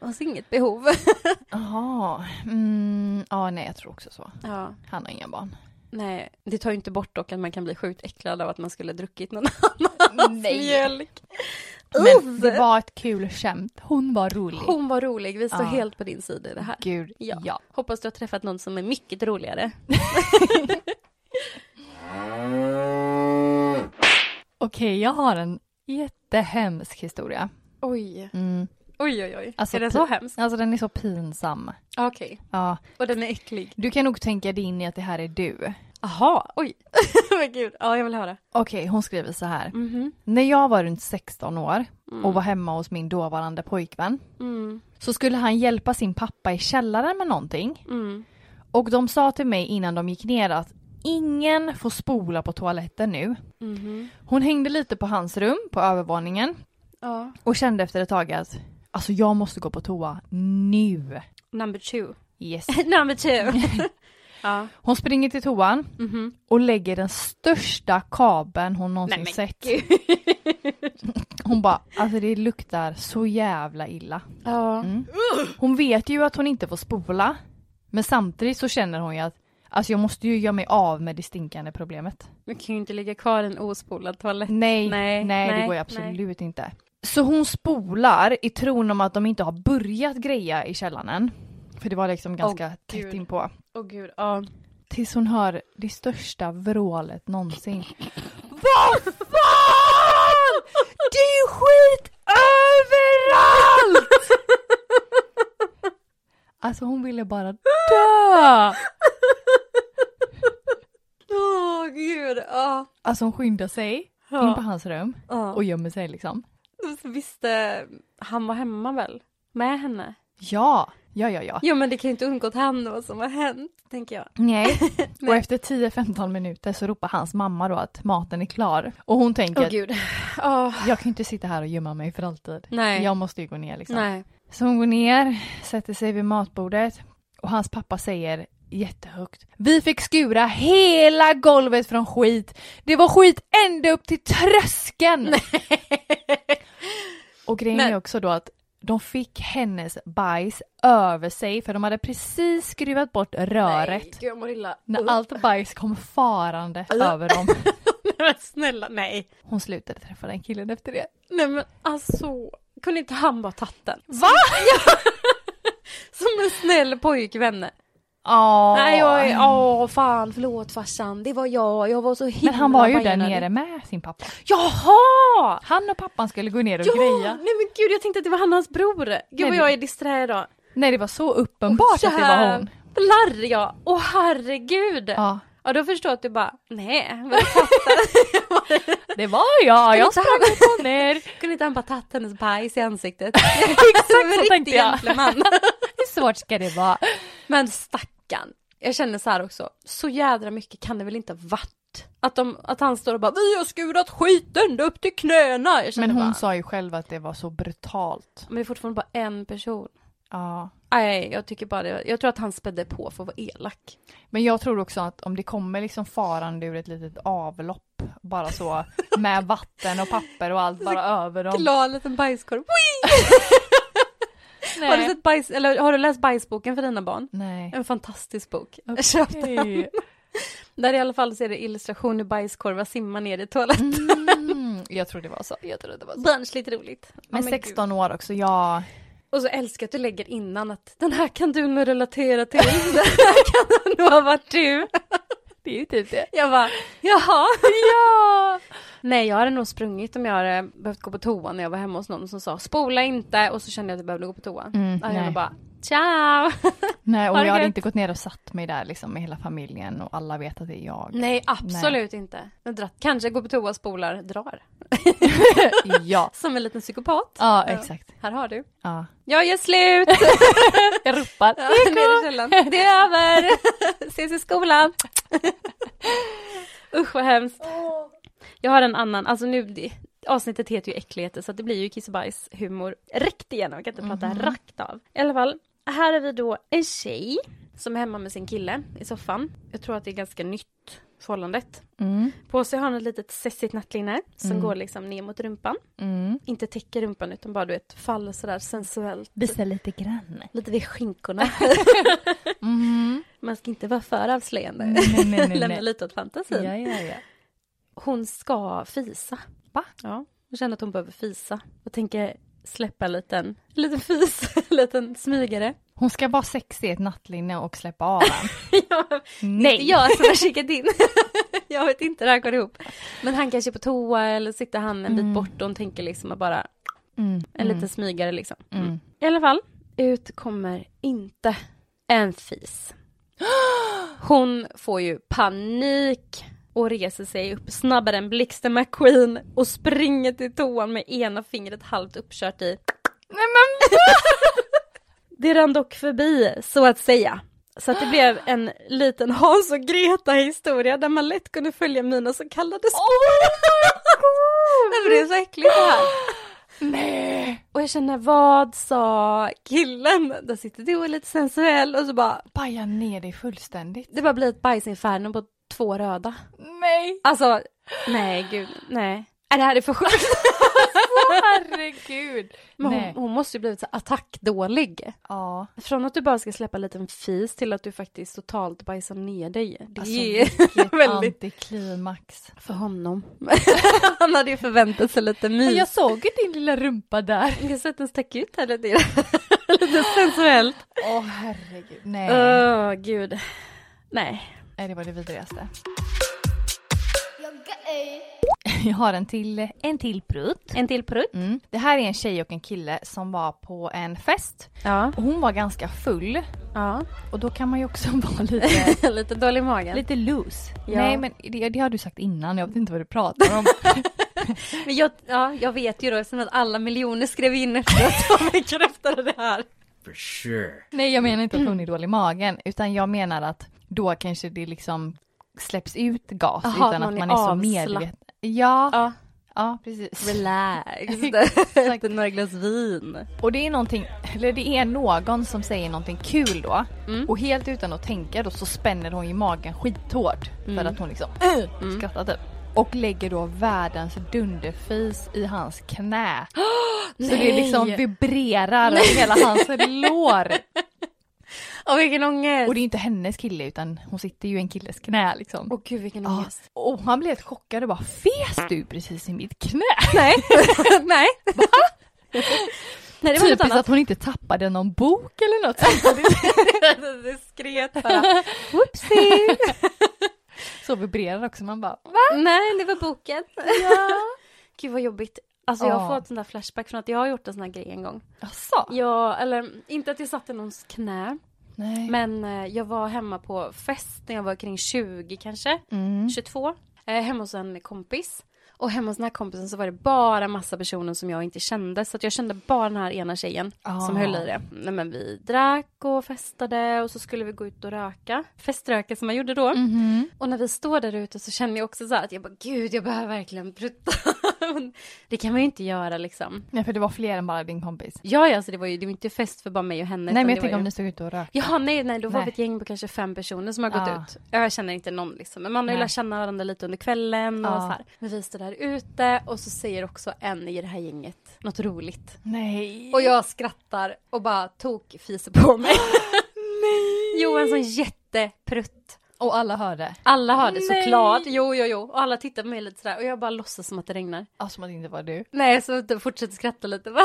Speaker 1: fanns inget behov. <laughs>
Speaker 2: Jaha. Mm, ja, nej, jag tror också så.
Speaker 1: ja,
Speaker 2: Han har inga barn.
Speaker 1: nej, det tar ju inte bort dock att man kan bli sjukt äcklad av att man skulle ha druckit någon <laughs> annans
Speaker 2: Nej.
Speaker 1: mjölk.
Speaker 2: Men det var ett kul skämt. Hon var rolig.
Speaker 1: Hon var rolig, vi står
Speaker 2: Ja.
Speaker 1: helt på din sida i det här.
Speaker 2: Gud, ja.
Speaker 1: Ja. Hoppas du har träffat någon som är mycket roligare.
Speaker 2: Okej, jag har en jättehemsk historia.
Speaker 1: Oj,
Speaker 2: Mm.
Speaker 1: oj, oj, oj.
Speaker 2: Alltså,
Speaker 1: är
Speaker 2: pi-
Speaker 1: den så hemsk?
Speaker 2: Alltså den är så pinsam.
Speaker 1: Okej,
Speaker 2: Ja,
Speaker 1: och den är äcklig.
Speaker 2: du kan nog tänka dig in i att det här är du.
Speaker 1: Aha, oj. <laughs> Men gud, ja jag vill höra.
Speaker 2: Okej, hon skriver så här.
Speaker 1: Mhm.
Speaker 2: När jag var runt 16 år och var hemma hos min dåvarande pojkvän
Speaker 1: Mm.
Speaker 2: så skulle han hjälpa sin pappa i källaren med någonting.
Speaker 1: Mm.
Speaker 2: Och de sa till mig innan de gick ner att ingen får spola på toaletten nu.
Speaker 1: Mhm.
Speaker 2: Hon hängde lite på hans rum på övervåningen
Speaker 1: Ja.
Speaker 2: och kände efter ett tag att alltså jag måste gå på toa nu.
Speaker 1: Number two.
Speaker 2: Yes.
Speaker 1: <laughs> Number <laughs> two. ja.
Speaker 2: Hon springer till toan
Speaker 1: Mhm.
Speaker 2: och lägger den största kabeln hon någonsin
Speaker 1: Nej, men
Speaker 2: sett.
Speaker 1: gud.
Speaker 2: <laughs> Hon bara alltså det luktar så jävla illa.
Speaker 1: Ja.
Speaker 2: Hon vet ju att hon inte får spola men samtidigt så känner hon ju att alltså jag måste ju göra mig av med det stinkande problemet.
Speaker 1: Man kan ju inte ligga kvar i en ospolad toalett.
Speaker 2: Nej, nej,
Speaker 1: Nej,
Speaker 2: det
Speaker 1: nej,
Speaker 2: går ju absolut inte. Så hon spolar i tron om att de inte har börjat greja i källaren. än. För det var liksom ganska tätt
Speaker 1: gud.
Speaker 2: inpå.
Speaker 1: Åh gud, ja.
Speaker 2: Tills hon hör det största vrålet någonsin.
Speaker 1: Vad fan!
Speaker 2: Det är skit överallt!
Speaker 1: <laughs>
Speaker 2: Alltså hon ville bara dö!
Speaker 1: Åh gud, ja.
Speaker 2: Alltså hon skyndar sig in på
Speaker 1: Ja.
Speaker 2: hans rum
Speaker 1: ja.
Speaker 2: och gömmer sig liksom.
Speaker 1: Och så visste, han var hemma väl? med henne.
Speaker 2: Ja, ja, ja, ja.
Speaker 1: Jo men det kan ju inte undgått han då vad som har hänt, tänker jag. <laughs>
Speaker 2: Nej.
Speaker 1: Nej.
Speaker 2: Och efter 10-15 minuter så ropar hans mamma då att maten är klar. Och hon tänker
Speaker 1: Åh
Speaker 2: att
Speaker 1: gud. Ja,
Speaker 2: jag kan ju inte sitta här och gömma mig för alltid.
Speaker 1: nej.
Speaker 2: Jag måste ju gå ner liksom.
Speaker 1: nej.
Speaker 2: Så hon går ner, sätter sig vid matbordet och hans pappa säger jättehögt. Vi fick skura hela golvet från skit. Det var skit ända upp till tröskeln. Och grejen
Speaker 1: Men-
Speaker 2: är också då att de fick hennes bajs över sig för de hade precis skruvat bort röret.
Speaker 1: Nej, gud jag mår illa.
Speaker 2: När allt bajs kom farande över dem.
Speaker 1: <laughs> Nej, men snälla, nej.
Speaker 2: Hon slutade träffa den killen efter det.
Speaker 1: Nej men alltså, kunde inte han bara tagit den?
Speaker 2: Va?
Speaker 1: <laughs> Som en snäll pojkvän.
Speaker 2: Ja.
Speaker 1: Nej jag är, åh fan förlåt farsan, det var jag, jag var så himla
Speaker 2: Men han var ju där
Speaker 1: bajanad.
Speaker 2: nere med sin pappa.
Speaker 1: Jaha!
Speaker 2: Han och pappan skulle gå ner och
Speaker 1: Ja!
Speaker 2: greja.
Speaker 1: Nej men gud jag tänkte att det var han och hans bror. Gud vad
Speaker 2: det-
Speaker 1: jag är disträ idag.
Speaker 2: Nej det var så uppenbart att det var hon.
Speaker 1: Jävlar ja! Åh herregud! Ja.
Speaker 2: Ja.
Speaker 1: då förstår jag att du bara, nej, vad
Speaker 2: <laughs>
Speaker 1: fan,
Speaker 2: Det var jag, jag
Speaker 1: Kan
Speaker 2: sprang
Speaker 1: inte
Speaker 2: upp och ner.
Speaker 1: kunde inte han bara tagit hennes bajs i ansiktet?
Speaker 2: <laughs> Exakt
Speaker 1: Som en
Speaker 2: så
Speaker 1: riktig
Speaker 2: tänkte jag.
Speaker 1: gentleman.
Speaker 2: <laughs> Hur svårt ska det vara?
Speaker 1: Men stackarn. Jag känner så här också, så jädra mycket kan det väl inte ha varit? Att, de, att han står och bara vi har skurat skit ända upp till knäna. Jag känner
Speaker 2: Men
Speaker 1: bara,
Speaker 2: hon sa ju själv att det var så brutalt.
Speaker 1: men det är fortfarande bara en person.
Speaker 2: Ja.
Speaker 1: Nej, jag tycker bara det. Jag tror att han spädde på för att vara elak.
Speaker 2: Men jag tror också att om det kommer liksom farande ur ett litet avlopp bara så
Speaker 1: <laughs>
Speaker 2: med vatten och papper och allt bara över dem.
Speaker 1: Glad liten bajskorv.
Speaker 2: Nej.
Speaker 1: Har du, sett bajs, eller har du läst Bajsboken för dina barn?
Speaker 2: Nej.
Speaker 1: En fantastisk bok. Jag köpte den.
Speaker 2: Okej.
Speaker 1: Där i alla fall så är det illustration hur bajskorvar simmar ner i toaletten.
Speaker 2: Mm, jag tror det var så. Jag tror det var så.
Speaker 1: Barnsligt roligt. Ja,
Speaker 2: Mm. Men
Speaker 1: gud.
Speaker 2: 16 år också, ja.
Speaker 1: Och så älskar jag att du lägger innan att den här kan du nog relatera till. <laughs> Den här kan nog ha varit du.
Speaker 2: Det är ju typ det.
Speaker 1: Jag bara, jaha. Ja. <laughs> Nej, jag hade nog sprungit om jag hade behövt gå på toa när jag var hemma hos någon som sa spola inte och så kände jag att jag behövde gå på toa.
Speaker 2: Mm,
Speaker 1: Ja, jag
Speaker 2: nej.
Speaker 1: bara, ciao.
Speaker 2: Nej, och
Speaker 1: Har det
Speaker 2: jag hade
Speaker 1: gött.
Speaker 2: inte gått ner och satt mig där liksom med hela familjen och alla vet att det är jag.
Speaker 1: <laughs> Nej, absolut inte. Jag dratt, kanske går på toa, spolar, drar.
Speaker 2: <laughs> ja.
Speaker 1: Som en liten psykopat.
Speaker 2: Ja, exakt.
Speaker 1: Här har du.
Speaker 2: Ja.
Speaker 1: Jag gör <laughs> slut!
Speaker 2: Jag ropar.
Speaker 1: Ner i källaren. Det är <laughs> över! Ses i skolan! Usch vad hemskt. Jag har en annan, alltså nu, det- avsnittet heter ju äckligheter så att det blir ju kiss och bajs humor rätt igenom, jag kan inte prata rakt av. I alla fall, här är det då en tjej som är hemma med sin kille i soffan. Jag tror att det är ganska nytt förhållandet.
Speaker 2: <laughs> Mm,
Speaker 1: På sig har han ett litet sessigt nattlinne som går liksom ner mot rumpan.
Speaker 2: mm.
Speaker 1: Inte täcker rumpan utan bara du vet faller sådär sensuellt.
Speaker 2: Visa lite grann.
Speaker 1: Lite vid
Speaker 2: <laughs>
Speaker 1: skinkorna.
Speaker 2: Mm.
Speaker 1: Man ska inte vara för avslöjande.
Speaker 2: Nej, nej,
Speaker 1: <laughs>
Speaker 2: nej,
Speaker 1: Lämna
Speaker 2: nej.
Speaker 1: lite åt
Speaker 2: Ja,
Speaker 1: fantasin.
Speaker 2: ja, ja.
Speaker 1: Hon ska fisa.
Speaker 2: Va?
Speaker 1: Ja, hon känner att hon behöver fisa. Och tänker släppa en liten, en liten fis, <laughs> en liten smygare.
Speaker 2: Hon ska vara sexig i ett nattlinne och släppa av den.
Speaker 1: <laughs> Ja,
Speaker 2: Nej!
Speaker 1: Jag som har skickat
Speaker 2: <laughs>
Speaker 1: in. Jag vet inte hur det här går ihop. Men han kanske är på toa eller sitter han en bit bort och hon tänker liksom att bara
Speaker 2: Mm,
Speaker 1: en liten smygare liksom.
Speaker 2: Mm.
Speaker 1: I alla fall, ut kommer inte en fis. <gasps> Hon får ju panik och reser sig upp snabbare än Blixten McQueen och springer till toan med ena fingret halvt uppkört i.
Speaker 2: <laughs> Nej men
Speaker 1: Det rann dock förbi, så att säga. Så att det blev en liten Hans och Greta-historia där man lätt kunde följa mina så kallade spår. <laughs> Nej, men det är så äckligt det här.
Speaker 2: <laughs> Nej!
Speaker 1: Och jag känner, vad sa killen? Där sitter du och är lite sensuell och så bara,
Speaker 2: Baja ner dig fullständigt.
Speaker 1: det bara blir ett bajsinferno på två röda.
Speaker 2: Nej!
Speaker 1: Alltså, nej gud, nej. Äh, Det här är för <laughs> sjukt.
Speaker 2: Herregud!
Speaker 1: Men
Speaker 2: Nej.
Speaker 1: hon, hon måste ju blivit så attackdålig.
Speaker 2: Ja.
Speaker 1: Från att du bara ska släppa en liten fis till att du faktiskt totalt bajsar ner dig. Det
Speaker 2: Alltså
Speaker 1: är
Speaker 2: <laughs>
Speaker 1: <laughs>
Speaker 2: vilket
Speaker 1: väldigt...
Speaker 2: antiklimax.
Speaker 1: För honom. <laughs> Han hade ju förväntat sig lite
Speaker 2: Men
Speaker 1: mys.
Speaker 2: jag såg ju din lilla rumpa där.
Speaker 1: Jag har sett den stack ut här lite. <laughs> lite sensuellt.
Speaker 2: Åh herregud. Nej.
Speaker 1: Åh, gud. Nej.
Speaker 2: Nej, det var det vidrigaste. <laughs> Jag har en till, en till prutt.
Speaker 1: En till prutt.
Speaker 2: Mm. Det här är en tjej och en kille som var på en fest.
Speaker 1: Ja.
Speaker 2: Och hon var ganska full.
Speaker 1: Ja.
Speaker 2: Och då kan man ju också <laughs> vara
Speaker 1: <laughs>
Speaker 2: lite,
Speaker 1: lite dålig i magen.
Speaker 2: lite loose.
Speaker 1: Ja. <laughs>
Speaker 2: Nej men det, det har du sagt innan, jag vet inte vad du pratar om.
Speaker 1: Men jag, ja, jag vet ju då eftersom att alla miljoner skrev in efter att de <laughs> bekräftade det här.
Speaker 4: For sure.
Speaker 2: Nej jag menar inte att
Speaker 1: Mm.
Speaker 2: hon är dålig i magen utan jag menar att då kanske det liksom släpps ut gas
Speaker 1: Jaha,
Speaker 2: utan
Speaker 1: man
Speaker 2: att
Speaker 1: är
Speaker 2: man är så
Speaker 1: avslappnad.
Speaker 2: medveten. Ja, ja.
Speaker 1: Ja, <laughs>
Speaker 2: precis.
Speaker 1: relax.
Speaker 2: Exakt.
Speaker 1: Efter några glas vin.
Speaker 2: Och det är någonting, eller det är någon som säger någonting kul då
Speaker 1: Mm.
Speaker 2: och helt utan att tänka då så spänner hon ju magen skithårt
Speaker 1: Mm.
Speaker 2: för att hon liksom <clears throat> skrattar typ. Och lägger då världens dunderfis i hans
Speaker 1: <gasps>
Speaker 2: knä. så det liksom vibrerar över hela
Speaker 1: <laughs>
Speaker 2: hans lår.
Speaker 1: Åh vilken ångest.
Speaker 2: Och det är inte hennes kille utan hon sitter ju i en killes knä liksom.
Speaker 1: Åh gud vilken
Speaker 2: Ja.
Speaker 1: ångest.
Speaker 2: Och han blev helt chockad och bara fes du precis i mitt knä?
Speaker 1: <laughs> Nej, <laughs> nej. <laughs> Nej det var något
Speaker 2: Typiskt
Speaker 1: annat.
Speaker 2: att hon inte tappade någon bok eller något.
Speaker 1: <laughs> det skret bara.
Speaker 2: så vibrerar också man bara.
Speaker 1: Nej det var <laughs> boken. Gud vad jobbigt. Alltså jag har
Speaker 2: Ja.
Speaker 1: fått sån där flashback från att jag har gjort en sån här grej en gång.
Speaker 2: Jaså?
Speaker 1: Ja, eller inte att jag satt i någons knä.
Speaker 2: Nej.
Speaker 1: Men eh, jag var hemma på fest när jag var kring 20 kanske.
Speaker 2: Mm.
Speaker 1: 22. Eh, hemma hos en kompis. Och hemma hos den här kompisen så var det bara massa personer som jag inte kände. Så att jag kände bara den här ena tjejen
Speaker 2: Ah.
Speaker 1: som höll i det. Nej, men vi drack och festade och så skulle vi gå ut och röka. Feströka som man gjorde då.
Speaker 2: Mhm.
Speaker 1: Och när vi står där ute så känner jag också så här att jag bara gud jag behöver verkligen prutta. <laughs> Men det kan man ju inte göra liksom.
Speaker 2: Nej för det var fler än bara din kompis.
Speaker 1: Ja, ja, alltså det var ju det var inte fest för bara mig och henne.
Speaker 2: Nej,
Speaker 1: utan
Speaker 2: men
Speaker 1: det
Speaker 2: jag tänker
Speaker 1: var
Speaker 2: om
Speaker 1: ju...
Speaker 2: ni stod ute och rökte.
Speaker 1: Jaha, nej, nej, då var
Speaker 2: Nej.
Speaker 1: vi ett gäng på kanske fem personer som har gått
Speaker 2: Ja.
Speaker 1: ut. Jag känner inte någon liksom, men man har ju
Speaker 2: Nej.
Speaker 1: lärt känna varandra lite under kvällen och
Speaker 2: Ja.
Speaker 1: så här. Men vi står där ute och så säger också en i det här gänget något roligt.
Speaker 2: Nej.
Speaker 1: Och jag skrattar och bara tok fiser på mig. <laughs> nej! Jo, en sån jätteprutt.
Speaker 2: Och alla hörde.
Speaker 1: Alla hörde
Speaker 2: Nej.
Speaker 1: såklart, jo, jo, jo. Och alla tittar på mig lite sådär och jag bara låtsas som att det regnar.
Speaker 2: Ja, Alltså, som att det inte var du.
Speaker 1: Nej, så jag fortsätter skratta lite <laughs> va.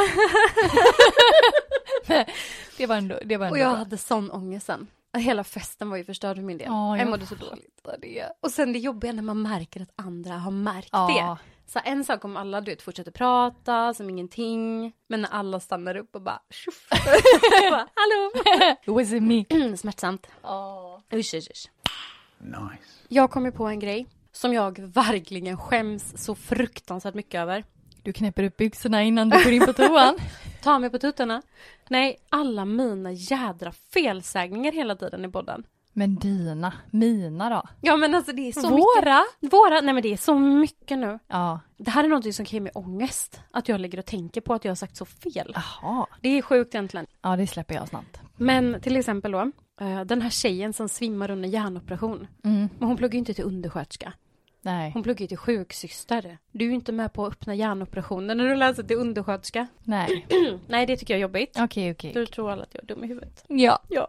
Speaker 2: Det var ändå, det var ändå
Speaker 1: Och jag
Speaker 2: bra.
Speaker 1: hade sån ångest sen. Hela festen var ju förstörd för min del.
Speaker 2: Ja,
Speaker 1: jag
Speaker 2: jag
Speaker 1: mådde så dåligt av det. Och sen det jobbiga när man märker att andra har märkt
Speaker 2: Ja.
Speaker 1: det. Så här, en sak om alla du vet, fortsätter prata som ingenting. Men när alla stannar upp och bara tjoff. <laughs> Jag bara, Hallå! <clears throat>
Speaker 2: It was me.
Speaker 1: Smärtsamt.
Speaker 2: Ja.
Speaker 1: Usch, usch, usch.
Speaker 4: Nice.
Speaker 1: Jag kommer på en grej som jag verkligen skäms så fruktansvärt mycket över.
Speaker 2: Du knäpper upp byxorna innan du går in på toan.
Speaker 1: Ta mig på tuttarna. Nej, alla mina jädra felsägningar hela tiden i podden.
Speaker 2: <laughs> men dina, mina då?
Speaker 1: Ja men alltså det är så mycket.
Speaker 2: Våra?
Speaker 1: Våra, nej men det är så mycket nu.
Speaker 2: Ja.
Speaker 1: Det här är någonting som kan ge mig ångest. Att jag ligger och tänker på att jag har sagt så fel.
Speaker 2: Jaha.
Speaker 1: Det är sjukt egentligen.
Speaker 2: Ja, det släpper jag snabbt.
Speaker 1: Men till exempel då, eh, den här tjejen som svimmar under hjärnoperation.
Speaker 2: Mm.
Speaker 1: Men hon pluggar ju inte till undersköterska.
Speaker 2: Nej.
Speaker 1: Hon pluggar ju till sjuksyster. Du är ju inte med på att öppna hjärnoperationen när du läser till undersköterska.
Speaker 2: <clears throat> Nej.
Speaker 1: Nej, det tycker jag är jobbigt.
Speaker 2: Okej, okej.
Speaker 1: Då tror alla att jag är dum i huvudet.
Speaker 2: Ja.
Speaker 1: Ja.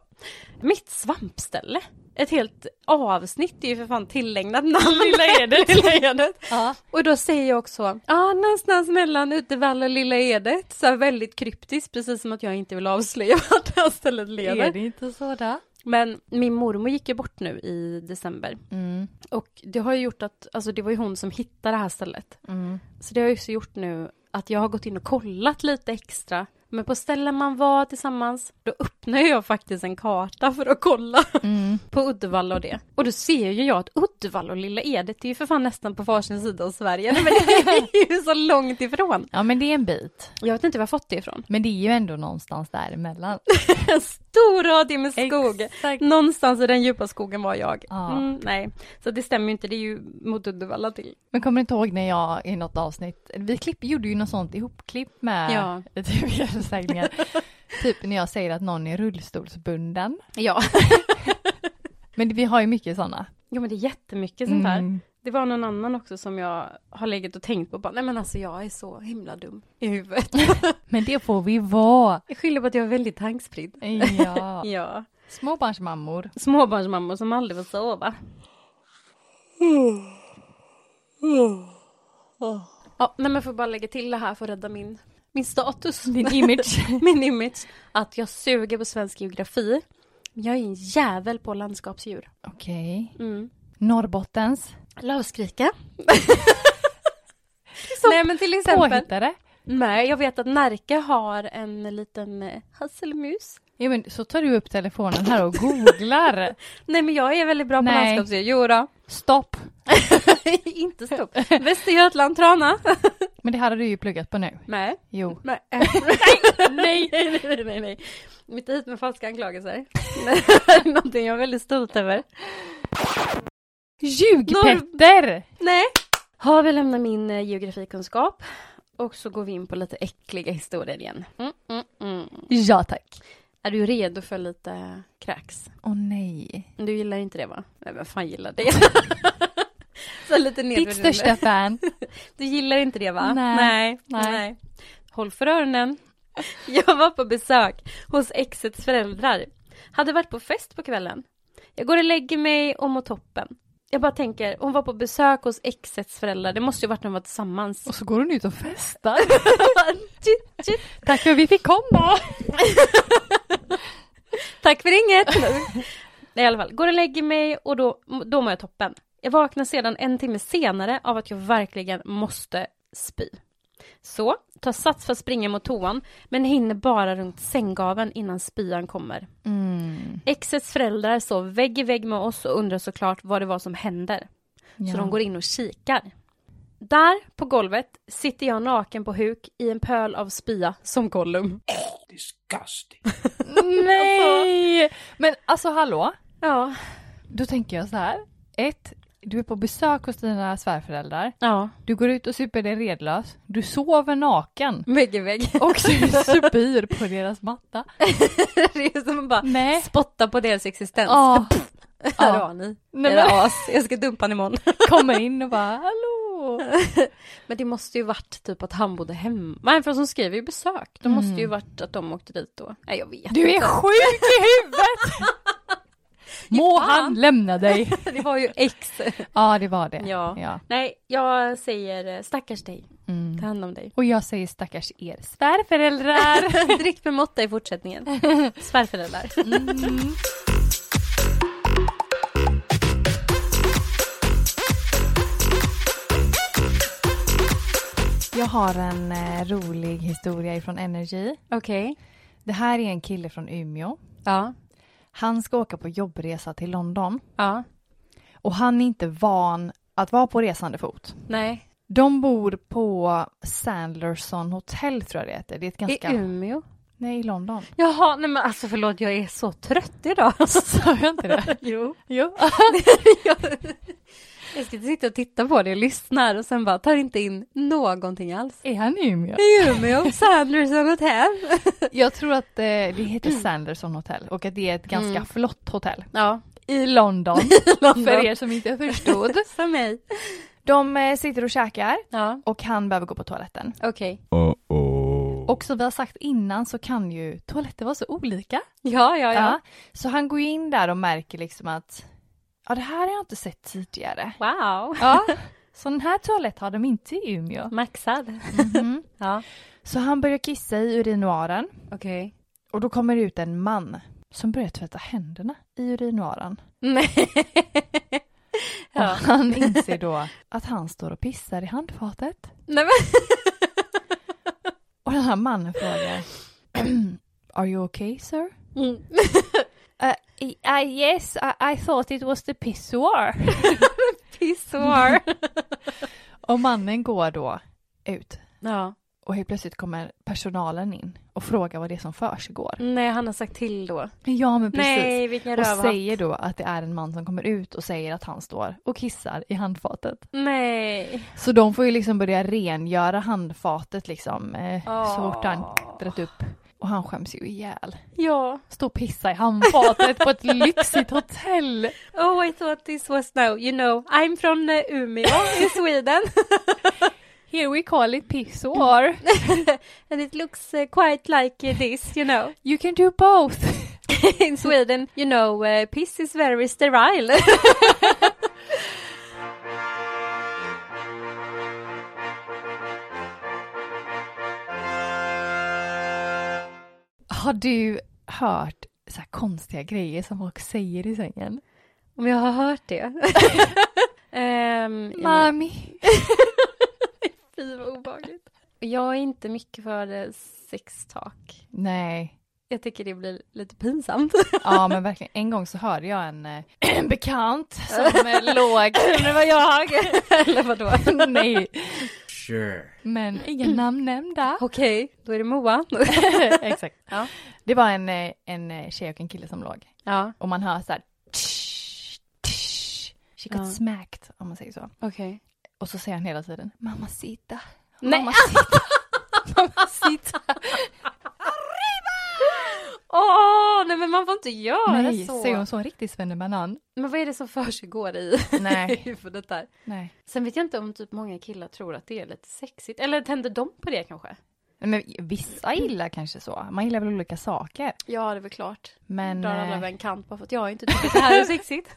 Speaker 1: Mitt svampställe. Ett helt avsnitt är ju för fan tillägnat namn. Lilla Edet. <laughs> Lilla Edet.
Speaker 2: Ja.
Speaker 1: Och då säger jag också, ja ah, någonstans mellan Uddevalla och Lilla Edet, så här väldigt kryptiskt, precis som att jag inte vill avslöja <laughs> vart det här stället
Speaker 2: Är
Speaker 1: lever.
Speaker 2: det inte så då?
Speaker 1: Men min mormor gick ju bort nu i december
Speaker 2: Mm.
Speaker 1: och det har ju gjort att, alltså det var ju hon som hittade det här stället.
Speaker 2: Mm.
Speaker 1: Så det har ju så gjort nu att jag har gått in och kollat lite extra. Men på ställen man var tillsammans, då öppnar jag faktiskt en karta för att kolla <laughs>
Speaker 2: Mm.
Speaker 1: på Uddevalla och det. Och då ser ju jag att Uddevalla och Lilla Edet är ju för fan nästan på varsin sida av Sverige. Nej, men det <laughs> är ju så långt ifrån.
Speaker 2: Ja, men det är en bit.
Speaker 1: Jag vet inte var jag fått det ifrån.
Speaker 2: Men det är ju ändå någonstans däremellan.
Speaker 1: En stor radie med skog.
Speaker 2: Exakt.
Speaker 1: Någonstans i den djupa skogen var jag.
Speaker 2: Ja.
Speaker 1: Mm, nej, så det stämmer ju inte. Det är ju mot Uddevalla till.
Speaker 2: Men kommer du inte ihåg när jag i något avsnitt, vi klipp, gjorde ju något sånt ihopklipp med
Speaker 1: Ja.
Speaker 2: <laughs> typ hjärnsägningar. typ när jag säger att någon är rullstolsbunden.
Speaker 1: Ja.
Speaker 2: Men vi har ju mycket Mm. sådana.
Speaker 1: Jo men det är jättemycket sånt här. Det var någon annan också som jag har legat och tänkt på. Bara, nej men alltså jag är så himla dum i huvudet.
Speaker 2: Men det får vi vara.
Speaker 1: <laughs> jag skyller på att jag är väldigt tankspridd.
Speaker 2: <laughs> Ja.
Speaker 1: Ja.
Speaker 2: Småbarnsmammor.
Speaker 1: Småbarnsmammor som aldrig får sova. Ja, nej men får bara lägga till det här för att rädda min, <laughs> min status.
Speaker 2: Din image.
Speaker 1: min image. Att jag suger på svensk geografi. Men Jag är en jävel på landskapsdjur.
Speaker 2: Okej.
Speaker 1: Mm.
Speaker 2: Norrbottens.
Speaker 1: Lavskrika. <laughs> nej men till exempel.
Speaker 2: Påhittare.
Speaker 1: Nej, jag vet att Närke har en liten eh, hasselmus.
Speaker 2: Ja men så tar du upp telefonen här och googlar.
Speaker 1: <laughs> Nej men jag är väldigt bra på
Speaker 2: Nej.
Speaker 1: landskapsdjur. Jo då.
Speaker 2: Stopp.
Speaker 1: <laughs> inte <laughs> stopp. Västergötland, Trana.
Speaker 2: Men det hade du ju pluggat på nu.
Speaker 1: Nej.
Speaker 2: Jo.
Speaker 1: <laughs> Nej. nej, <laughs> nej, nej, nej, nej. Mitt hit med falska anklagelser. <laughs> Någonting jag är väldigt stolt över.
Speaker 2: Ljugpetter!
Speaker 1: Nej. Har vi lämnat min eh, geografikunskap. Och så går vi in på lite äckliga historier igen. Mm, mm, mm.
Speaker 2: Ja tack.
Speaker 1: Är du redo för lite kräks?
Speaker 2: Åh nej.
Speaker 1: Du gillar inte det va? Nej, vem fan gillar det? <laughs> så lite
Speaker 2: Ditt
Speaker 1: nedvärderande.
Speaker 2: största fan.
Speaker 1: Du gillar inte det va?
Speaker 2: Nej.
Speaker 1: Nej.
Speaker 2: Nej.
Speaker 1: Nej. Håll för öronen. <laughs> Jag var på besök hos exets föräldrar. Hade varit på fest på kvällen. Jag går och lägger mig och mår toppen. Jag bara tänker, hon var på besök hos exets föräldrar. Det måste ju varit när de var tillsammans.
Speaker 2: Och så går hon ut och festar.
Speaker 1: Tjut, tjut.
Speaker 2: <laughs> Tack för att vi fick komma.
Speaker 1: Tack för inget! Nej, i alla fall, går och lägger mig och då, då mår jag toppen. Jag vaknar sedan en timme senare av att jag verkligen måste spy. Så, tar sats för att springa mot toan, men hinner bara runt sänggaveln innan spyan kommer.
Speaker 2: Mm.
Speaker 1: Exets föräldrar sov vägg i vägg med oss och undrar såklart vad det var som händer. Så de går in och kikar. Där, på golvet, sitter jag naken på huk i en pöl av spya som Gollum.
Speaker 3: Disgusting.
Speaker 2: Nej! Men alltså hallå.
Speaker 1: Ja,
Speaker 2: Då tänker jag så här. Ett, du är på besök hos dina svärföräldrar.
Speaker 1: ja,
Speaker 2: Du går ut och super dig redlös. Du sover naken.
Speaker 1: vägg i vägg.
Speaker 2: Och du <laughs> spyr på deras matta.
Speaker 1: <laughs> det är som att bara
Speaker 2: Nej.
Speaker 1: spotta på deras existens.
Speaker 2: Ja.
Speaker 1: Här
Speaker 2: Ja.
Speaker 1: har ni
Speaker 2: Nej,
Speaker 1: era
Speaker 2: men,
Speaker 1: as, jag ska dumpa den imorgon.
Speaker 2: kommer in och bara hallå.
Speaker 1: <laughs> men det måste ju varit typ att han bodde hemma. Nej, för som skriver ju besök. Det måste ju varit att de åkte dit då. Nej, jag vet
Speaker 2: Du är sjuk i huvudet! Må han lämna dig.
Speaker 1: inte. Det var ju ex.
Speaker 2: Ja, det var det.
Speaker 1: Ja. <laughs> Nej, jag säger eh, stackars dig.
Speaker 2: Mm.
Speaker 1: Ta hand om dig. <laughs>
Speaker 2: Och jag säger stackars er svärföräldrar.
Speaker 1: Drick med måtta i <laughs> fortsättningen. Svärföräldrar.
Speaker 2: <laughs> Jag har en eh, rolig historia ifrån Energy.
Speaker 1: Okej.
Speaker 2: Det här är en kille från Umeå.
Speaker 1: Ja.
Speaker 2: Han ska åka på jobbresa till London
Speaker 1: Ja.
Speaker 2: och han är inte van att vara på resande fot.
Speaker 1: Nej.
Speaker 2: De bor på Sandlerson Hotel tror jag det heter. Det är ett ganska...
Speaker 1: I Umeå.
Speaker 2: Nej, i London.
Speaker 1: Jaha, nej men alltså förlåt, jag är så trött <laughs> idag.
Speaker 2: <laughs> Sa jag inte det?
Speaker 1: jo.
Speaker 2: Jo.
Speaker 1: jag, <laughs> jag ska sitta och titta på det och lyssna och sen bara tar inte in någonting alls.
Speaker 2: Är han i Umeå?
Speaker 1: I Umeå, Sanderson Hotel.
Speaker 2: <laughs> Jag tror att eh, det heter Sanderson Hotel och att det är ett ganska flott hotell.
Speaker 1: Ja,
Speaker 2: Mm. <laughs> I London,
Speaker 1: London.
Speaker 2: för er som inte förstod.
Speaker 1: för mig.
Speaker 2: <laughs> De eh, sitter och käkar
Speaker 1: Ja,
Speaker 2: och han behöver gå på toaletten.
Speaker 1: okej.
Speaker 2: Och som vi har sagt innan så kan ju toaletter vara så olika.
Speaker 1: Ja, ja, ja.
Speaker 2: Ja. Så han går ju in där och märker liksom att ja, det här har jag inte sett tidigare.
Speaker 1: Wow.
Speaker 2: Ja, <laughs> så den här toalett har de inte i Umeå.
Speaker 1: Maxad.
Speaker 2: Mhm.
Speaker 1: Ja,
Speaker 2: Så han börjar kissa i urinoaren
Speaker 1: okej.
Speaker 2: och då kommer det ut en man som börjar tvätta händerna i urinoaren.
Speaker 1: Nej.
Speaker 2: Och
Speaker 1: <laughs> Ja.
Speaker 2: han inser då att han står och pissar i handfatet.
Speaker 1: Nej men.
Speaker 2: Och den här mannen frågar <clears throat> Are you okay sir?
Speaker 1: <laughs> Mm.
Speaker 2: yes, Uh, I, thought it was the <laughs> pissoir.
Speaker 1: Pissoar.
Speaker 2: Och mannen går då ut
Speaker 1: Ja.
Speaker 2: och helt plötsligt kommer personalen in och frågar vad det är som försiggår.
Speaker 1: Nej, han har sagt till då.
Speaker 2: Ja men precis.
Speaker 1: Nej, vilken
Speaker 2: och
Speaker 1: rövhatt.
Speaker 2: säger då att det är en man som kommer ut och säger att han står och kissar i handfatet.
Speaker 1: Nej.
Speaker 2: Så de får ju liksom börja rengöra handfatet liksom eh, så fort han
Speaker 1: Åh.
Speaker 2: dragit upp. Och han skäms ju ihjäl.
Speaker 1: Ja.
Speaker 2: Stå och pissa i handfatet på <laughs> ett lyxigt hotell.
Speaker 1: Oh, I thought this was no. You know, I'm from eh, <laughs> Umeå i Sweden.
Speaker 2: Here we call it pissoir.
Speaker 1: <laughs> And it looks uh, quite like uh, this, you <laughs> know.
Speaker 2: You can do both.
Speaker 1: In Sweden, you know, uh, piss is very sterile. <laughs>
Speaker 2: Har du hört så här konstiga grejer som folk säger i sängen?
Speaker 1: Om jag har hört det. <laughs> um,
Speaker 2: Mami.
Speaker 1: Fy vad obehagligt. Jag är inte mycket för eh, sextalk.
Speaker 2: Nej.
Speaker 1: Jag tycker det blir lite <laughs> pinsamt.
Speaker 2: Ja men verkligen, en gång så hörde jag en, eh, <clears throat> en bekant som
Speaker 1: <laughs>
Speaker 2: eh, låg, det var jag.
Speaker 1: Eller vadå?
Speaker 2: Nej,
Speaker 4: Sure.
Speaker 2: men inga namn nämnda.
Speaker 1: <laughs> Okej, då är det <laughs> Moa.
Speaker 2: Exakt.
Speaker 1: Ja.
Speaker 2: Det var en, eh, en eh, tjej och en kille som låg
Speaker 1: ja,
Speaker 2: och man hör så här tsch, tsch. She got
Speaker 1: Ja.
Speaker 2: smacked om man säger så.
Speaker 1: okej.
Speaker 2: Och så säger han hela tiden mamma sitta,
Speaker 1: Nej.
Speaker 2: mamma
Speaker 1: <laughs>
Speaker 2: sitta, mamma sitta.
Speaker 1: Åh, nej men man får inte göra
Speaker 2: Nej,
Speaker 1: så.
Speaker 2: säger hon så en riktig svennebanan?
Speaker 1: Men vad är det som försiggår i <laughs> i
Speaker 2: Nej,
Speaker 1: huvudet där?
Speaker 2: nej.
Speaker 1: Sen vet jag inte om typ många killar tror att det är lite sexigt. Eller tänder de på det kanske?
Speaker 2: Men vissa gillar kanske så, man gillar väl olika saker.
Speaker 1: Ja, det är väl klart.
Speaker 2: Men,
Speaker 1: Drar alla
Speaker 2: eh,
Speaker 1: över en kant bara för att <laughs> jag inte tycker att det här är sexigt.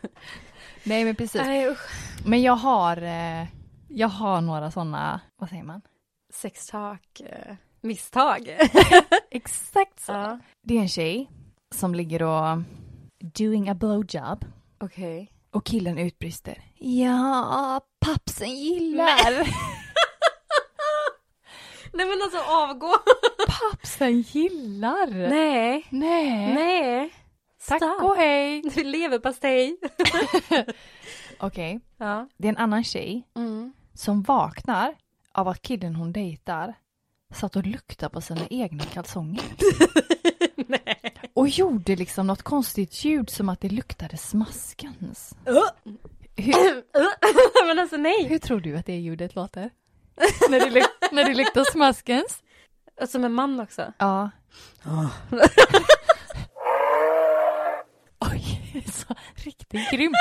Speaker 2: nej men precis.
Speaker 1: <laughs> Nej usch.
Speaker 2: Men jag har, eh, jag har några sådana, vad säger man?
Speaker 1: Sextak. eh, <laughs> Misstag.
Speaker 2: Exakt
Speaker 1: ja.
Speaker 2: Det är en tjej som ligger och doing a blowjob
Speaker 1: Okej.
Speaker 2: och killen utbrister. Ja, pappsen gillar.
Speaker 1: Nej men alltså avgå.
Speaker 2: pappsen gillar. Nej.
Speaker 1: Nej.
Speaker 2: Nej.
Speaker 1: Nej.
Speaker 2: Tack och hej.
Speaker 1: Leverpastej.
Speaker 2: Okej,
Speaker 1: Ja.
Speaker 2: det är en annan tjej
Speaker 1: Mm.
Speaker 2: som vaknar av att killen hon dejtar satt och luktade på sina egna kalsonger. <laughs> Nej. Och gjorde liksom något konstigt ljud som att det luktade smaskans. Hur,
Speaker 1: <coughs> men alltså nej.
Speaker 2: Hur tror du att det ljudet låter? <laughs> när, det luk- när det luktar smaskens?
Speaker 1: Och Som en man också.
Speaker 2: Ja. <laughs> Oj, det är så riktigt grymt.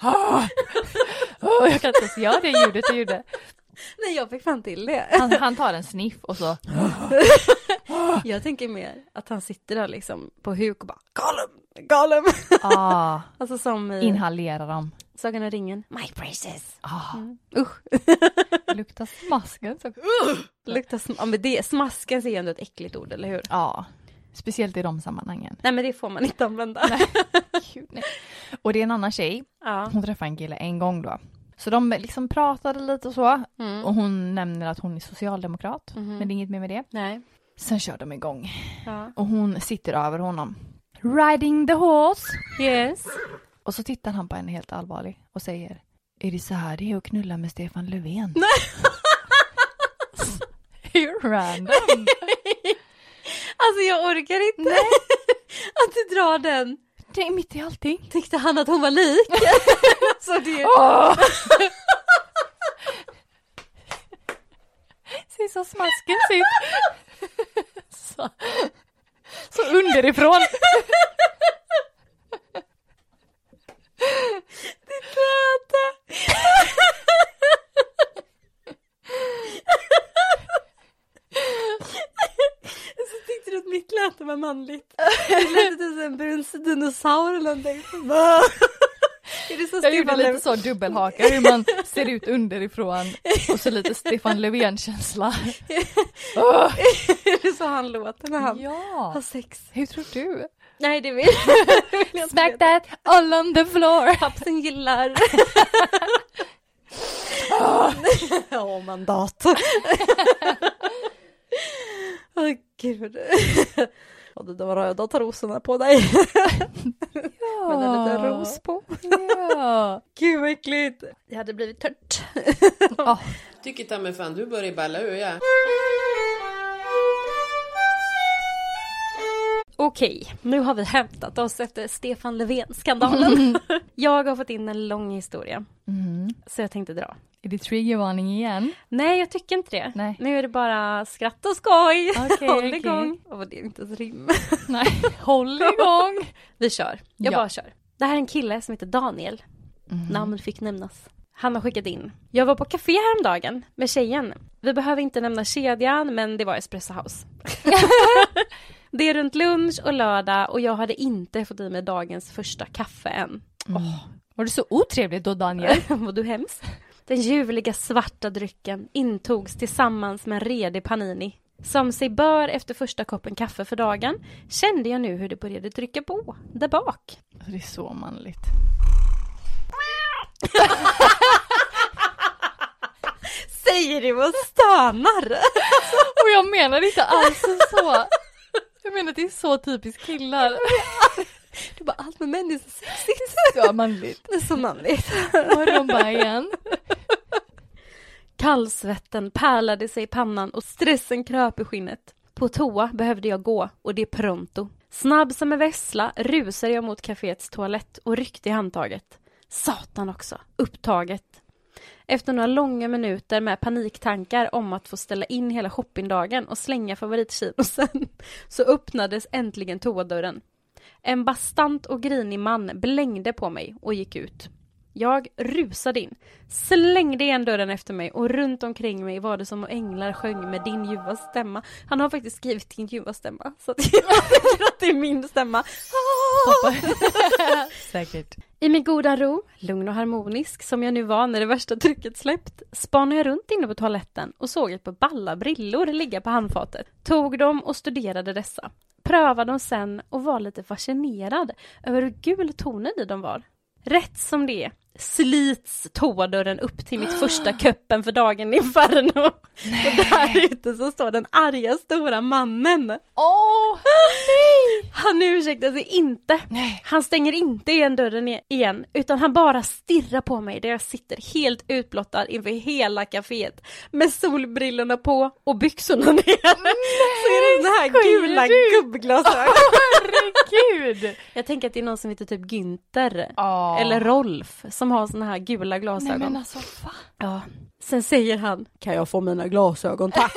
Speaker 2: Ah. <laughs> Åh, jag kan inte ens göra det ljudet jag gjorde.
Speaker 1: Nej jag fick fan till det.
Speaker 2: Han, han tar en sniff och så.
Speaker 1: Jag tänker mer att han sitter där liksom på huk och bara Gollum, Gollum.
Speaker 2: <laughs> Ah,
Speaker 1: Alltså som i
Speaker 2: inhalerar dem.
Speaker 1: Sagan om ringen. My precious.
Speaker 2: Ah,
Speaker 1: Usch.
Speaker 2: luktar smaskens. också.
Speaker 1: Luktar sm- ja, men det, smaskens är ju ändå ett äckligt ord, eller hur?
Speaker 2: Ja, speciellt i de sammanhangen.
Speaker 1: Nej men det får man inte använda. <laughs>
Speaker 2: Gud, nej. Och det är en annan tjej
Speaker 1: Ja.
Speaker 2: Hon träffade en kille en gång då. Så de liksom pratade lite och så.
Speaker 1: Mm. Mm-hmm.
Speaker 2: Och hon nämner att hon är socialdemokrat. Men det är inget mer med det.
Speaker 1: Nej.
Speaker 2: Sen kör de igång.
Speaker 1: Ja.
Speaker 2: Och hon sitter över honom. Riding the horse.
Speaker 1: Yes.
Speaker 2: Och så tittar han på henne helt allvarlig och säger. Är det så här det är att knulla med Stefan Löfven? <laughs> Hur random?
Speaker 1: Alltså jag orkar inte. <laughs> att du drar den.
Speaker 2: Det är mitt i allting.
Speaker 1: Tyckte han att hon var lik? <laughs> alltså det...
Speaker 2: Åh! Ser så smaskigt ut. Så, så underifrån.
Speaker 1: Vänta. Så tyckte du att mitt lät var manligt? Det lät som en brun dinosaur eller <laughs> någonting. Va? Är det så
Speaker 2: Jag gjorde
Speaker 1: Stefan
Speaker 2: lite
Speaker 1: Löf-
Speaker 2: så dubbelhaka, hur man ser ut underifrån och så lite Stefan Löfven-känsla. Åh!
Speaker 1: Är det så han låter när han har
Speaker 2: Ja,
Speaker 1: sex?
Speaker 2: hur tror du?
Speaker 1: Nej det vill det vill <laughs> jag inte
Speaker 2: Smack
Speaker 1: veta.
Speaker 2: that all on the floor.
Speaker 1: Pappsen <laughs> gillar. Ja, <laughs> mandat. Åh gud. Ja, det- De röda rosorna på dig. <laughs> Med en liten ros på.
Speaker 2: Ja.
Speaker 1: Gud vad äckligt. Det hade blivit tört.
Speaker 5: Tycker ta mig fan du börjar balla ur ja.
Speaker 1: Okej, nu har vi hämtat oss efter Stefan <laughs> Löfven-skandalen. jag har fått in en lång historia,
Speaker 2: Mm.
Speaker 1: så jag tänkte dra.
Speaker 2: Är det triggervarning igen?
Speaker 1: Nej, jag tycker inte det.
Speaker 2: Nej.
Speaker 1: Nu är det bara skratt och skoj.
Speaker 2: Okej,
Speaker 1: Håll
Speaker 2: okej.
Speaker 1: igång. Åh, det är inte ens rim.
Speaker 2: Nej, håll igång.
Speaker 1: Vi kör. Jag
Speaker 2: Ja.
Speaker 1: bara kör. Det här är en kille som heter Daniel. Namn fick nämnas. Han har skickat in. Jag var på café häromdagen med tjejen. Vi behöver inte nämna kedjan, men det var Espresso House. det är runt lunch och lördag och jag hade inte fått i mig dagens första kaffe än. <laughs>
Speaker 2: Var du så otrevlig då Daniel?
Speaker 1: Vad du hemskt. Den ljuvliga svarta drycken intogs tillsammans med en redig panini. Som sig bör efter första koppen kaffe för dagen kände jag nu hur det började trycka på där bak.
Speaker 2: <laughs> Det är så manligt.
Speaker 1: Säger du och stönar!
Speaker 2: Och jag menar inte alls så. Jag menar att det är så typiskt killar.
Speaker 1: Du bara, allt med män är så sexigt.
Speaker 2: Ja, <laughs> manligt.
Speaker 1: Det är så manligt.
Speaker 2: Morgonbajen.
Speaker 1: Kallsvetten pärlade sig i pannan och stressen kröp i skinnet. På toa behövde jag gå och det pronto. Snabb som en vessla rusade jag mot kaféets toalett och ryckte i handtaget. Satan också, upptaget. Efter några långa minuter med paniktankar om att få ställa in hela shoppingdagen och slänga favoritkilosen så öppnades äntligen toadörren. En bastant och grinig man blängde på mig och gick ut. Jag rusade in, slängde igen dörren efter mig och runt omkring mig var det som om änglar sjöng med din ljuva stämma. Han har faktiskt skrivit din ljuva stämma, så att <laughs> jag tycker att det är min stämma.
Speaker 2: Säkert.
Speaker 1: I min goda ro, lugn och harmonisk som jag nu var när det värsta trycket släppt, spanade jag runt inne på toaletten och såg ett par balla brillor ligga på handfatet. Tog dem och studerade dessa. Prövade dem sen och var lite fascinerad över hur gul tonen i dem var. Rätt som det är slits toadörren upp till mitt första köppen för dagen i Inferno. Och där ute så står den arga stora mannen.
Speaker 2: Åh!
Speaker 1: Han ursäktar sig inte.
Speaker 2: Nej.
Speaker 1: Han stänger inte igen dörren i- igen, utan han bara stirrar på mig där jag sitter helt utblottad inför hela kaféet med solbrillorna på och byxorna <laughs> ner. Så är det såna här
Speaker 2: skojar
Speaker 1: gula
Speaker 2: du?
Speaker 1: gubbglasögon.
Speaker 2: Herregud!
Speaker 1: Ah. Jag tänker att det är någon som heter typ Günther
Speaker 2: Oh.
Speaker 1: eller Rolf som har såna här gula
Speaker 2: Nej
Speaker 1: glasögon.
Speaker 2: men alltså fan.
Speaker 1: ja. Sen säger han, kan jag få mina glasögon <laughs> tack?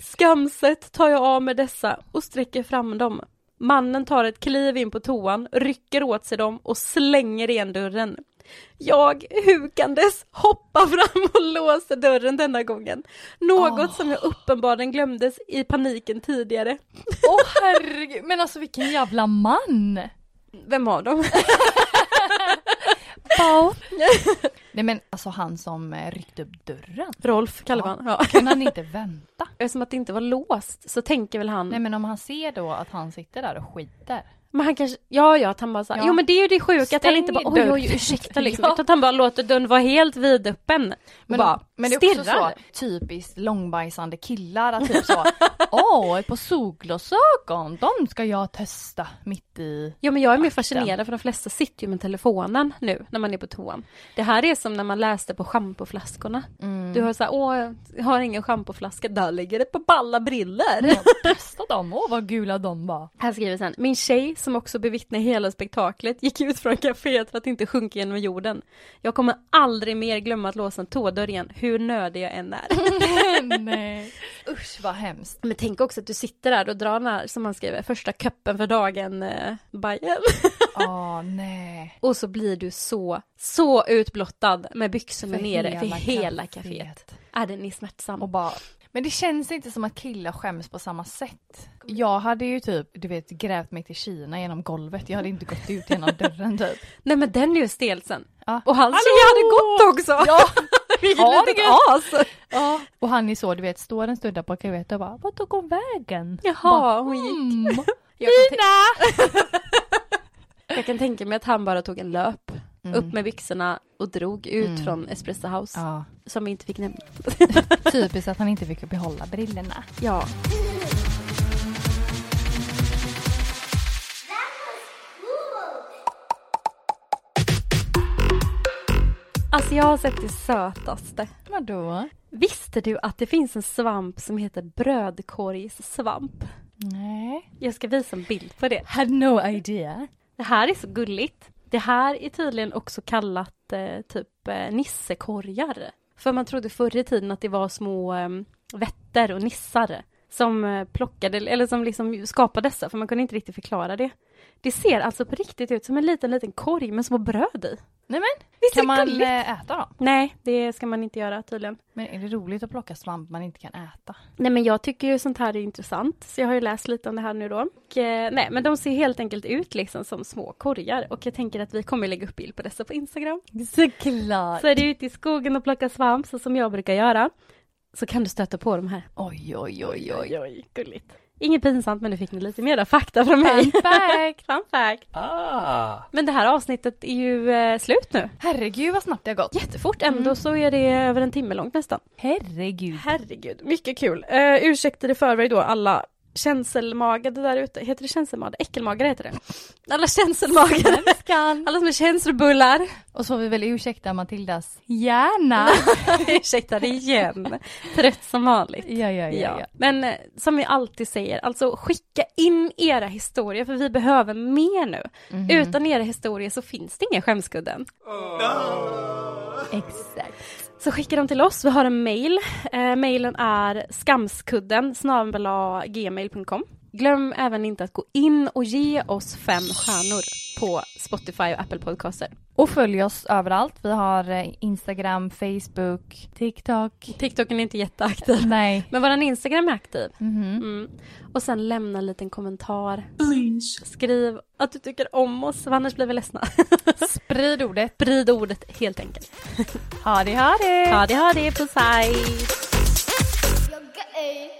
Speaker 1: Skamset tar jag av med dessa och sträcker fram dem. Mannen tar ett kliv in på toan, rycker åt sig dem och slänger igen dörren. Jag, hukandes, hoppar fram <laughs> och låser dörren denna gången. Något som jag uppenbarligen glömdes i paniken tidigare.
Speaker 2: Åh herregud, men alltså vilken jävla man!
Speaker 1: Vem har dem?
Speaker 2: <laughs> Nej men alltså han som eh, ryckte upp dörren.
Speaker 1: <laughs> Rolf kallar vi han. Ja.
Speaker 2: Kan han inte vänta?
Speaker 1: Eftersom att det inte var låst så tänker väl han,
Speaker 2: Nej men om han ser då att han sitter där och skiter.
Speaker 1: men han kanske, ja ja, att han bara så här,
Speaker 2: Ja.
Speaker 1: jo men det är ju det sjuka att han
Speaker 2: Stäng
Speaker 1: inte bara, oj
Speaker 2: dörren.
Speaker 1: oj
Speaker 2: <laughs>
Speaker 1: ursäkta liksom,
Speaker 2: Ja.
Speaker 1: utan att han bara låter dörren vara helt vidöppen.
Speaker 2: Men,
Speaker 1: Men, bara,
Speaker 2: men det är också
Speaker 1: stirrar.
Speaker 2: så typiskt långbajsande killar att typ så <laughs> Åh, ett par solglasögon, de ska jag testa mitt i.
Speaker 1: Ja men jag är mer fascinerad för de flesta sitter ju med telefonen nu när man är på toan. Det här är som när man läste på schampoflaskorna.
Speaker 2: Mm.
Speaker 1: Du har så här, åh jag har ingen schampoflaska, där ligger det på balla briller. <laughs>
Speaker 2: Testa dem, åh vad gula de var.
Speaker 1: Han skriver sen, min tjej som också bevittnade hela spektaklet gick ut från kaféet för att inte sjunka genom jorden. Jag kommer aldrig mer glömma att låsa en toadörr igen, hur nödig jag än är.
Speaker 2: <laughs> Nej. Usch vad hemskt.
Speaker 1: Men tänk också att du sitter där och drar den här, som han skriver, första köppen för dagen, eh, Bajen.
Speaker 2: Åh nej.
Speaker 1: <laughs> Och så blir du så, så utblottad med byxorna nere för hela kaféet. Är den är smärtsam.
Speaker 2: Och bara, men det känns inte som att killar skäms på samma sätt. Jag hade ju typ, du vet, grävt mig till Kina genom golvet. Jag hade inte gått ut <laughs> genom dörren typ.
Speaker 1: Nej men den är ju stel sen.
Speaker 2: Ja.
Speaker 1: Och hans tjej hade gått <laughs> också!
Speaker 2: Ja.
Speaker 1: Vilket
Speaker 2: Har
Speaker 1: litet
Speaker 2: det.
Speaker 1: as!
Speaker 2: Ja. Och han är så, du vet, står en stund där på kavet och bara, vad tog hon vägen?
Speaker 1: Jaha, hon gick.
Speaker 2: Mm.
Speaker 1: Jag kan, <laughs> tän- jag kan tänka mig att han bara tog en löp, upp med byxorna och drog ut från Espresso House,
Speaker 2: Ja.
Speaker 1: som vi inte fick nämna.
Speaker 2: Typiskt att han inte fick behålla brillorna.
Speaker 1: Ja. Alltså jag har sett det sötaste.
Speaker 2: Vadå?
Speaker 1: Visste du att det finns en svamp som heter brödkorgssvamp?
Speaker 2: Nej.
Speaker 1: Jag ska visa en bild på det.
Speaker 2: Had no idea.
Speaker 1: Det här är så gulligt. Det här är tydligen också kallat eh, typ eh, nissekorgar. För man trodde förr i tiden att det var små eh, vätter och nissar som eh, plockade, eller som liksom skapade dessa, för man kunde inte riktigt förklara det. Det ser alltså på riktigt ut som en liten, liten korg med små bröd i.
Speaker 2: Nej men,
Speaker 1: Visst är
Speaker 2: kan
Speaker 1: det
Speaker 2: man
Speaker 1: gulligt?
Speaker 2: eh, äta dem?
Speaker 1: Nej, det ska man inte göra tydligen.
Speaker 2: Men är det roligt att plocka svamp man inte kan äta?
Speaker 1: Nej men jag tycker ju sånt här är intressant, så jag har ju läst lite om det här nu då. Och, eh, nej men de ser helt enkelt ut liksom som små korgar och jag tänker att vi kommer lägga upp bild på dessa på Instagram.
Speaker 2: Såklart.
Speaker 1: Så är du ute i skogen och plockar svamp så som jag brukar göra så kan du stöta på de här.
Speaker 2: Oj, oj, oj, oj.
Speaker 1: oj, gulligt. Inget pinsamt men nu fick ni lite mer fakta från mig.
Speaker 2: Fun fact.
Speaker 1: Fun fact.
Speaker 6: Ah!
Speaker 1: Men det här avsnittet är ju eh, slut nu.
Speaker 2: Herregud vad snabbt det har gått.
Speaker 1: Jättefort Mm. ändå så är det över en timme långt nästan.
Speaker 2: Herregud.
Speaker 1: Herregud, mycket kul. Uh, ursäkter i förväg då alla känselmagade där ute. Heter det känselmagade? Äckelmagare heter det. Alla känselmagare. Alla som är <laughs> känselbullar.
Speaker 2: Och så får vi väl ursäkta Matildas hjärna.
Speaker 1: Ursäktar igen. Trött som vanligt.
Speaker 2: ja, ja, ja,
Speaker 1: Ja.
Speaker 2: ja.
Speaker 1: Men eh, som vi alltid säger, alltså skicka in era historier för vi behöver mer nu. Utan era historier så finns det ingen skämskudden.
Speaker 2: Exakt.
Speaker 1: Så skicka dem till oss, vi har en mail. Eh, mailen är skamskudden snabel-a gmail.com. Glöm även inte att gå in och ge oss fem stjärnor på Spotify och Apple Podcaster.
Speaker 2: Och följ oss överallt. Vi har eh, Instagram, Facebook, TikTok.
Speaker 1: TikToken är inte jätteaktiv.
Speaker 2: Nej.
Speaker 1: Men vår Instagram är aktiv.
Speaker 2: Mhm.
Speaker 1: Mm. Och sen lämna en liten kommentar.
Speaker 3: Please.
Speaker 1: Skriv att du tycker om oss, för annars blir vi ledsna. <laughs>
Speaker 2: Sprid ordet.
Speaker 1: Sprid ordet helt enkelt.
Speaker 2: Ha det, ha det.
Speaker 1: Ha det, ha det, puss hej!
Speaker 7: You're gay.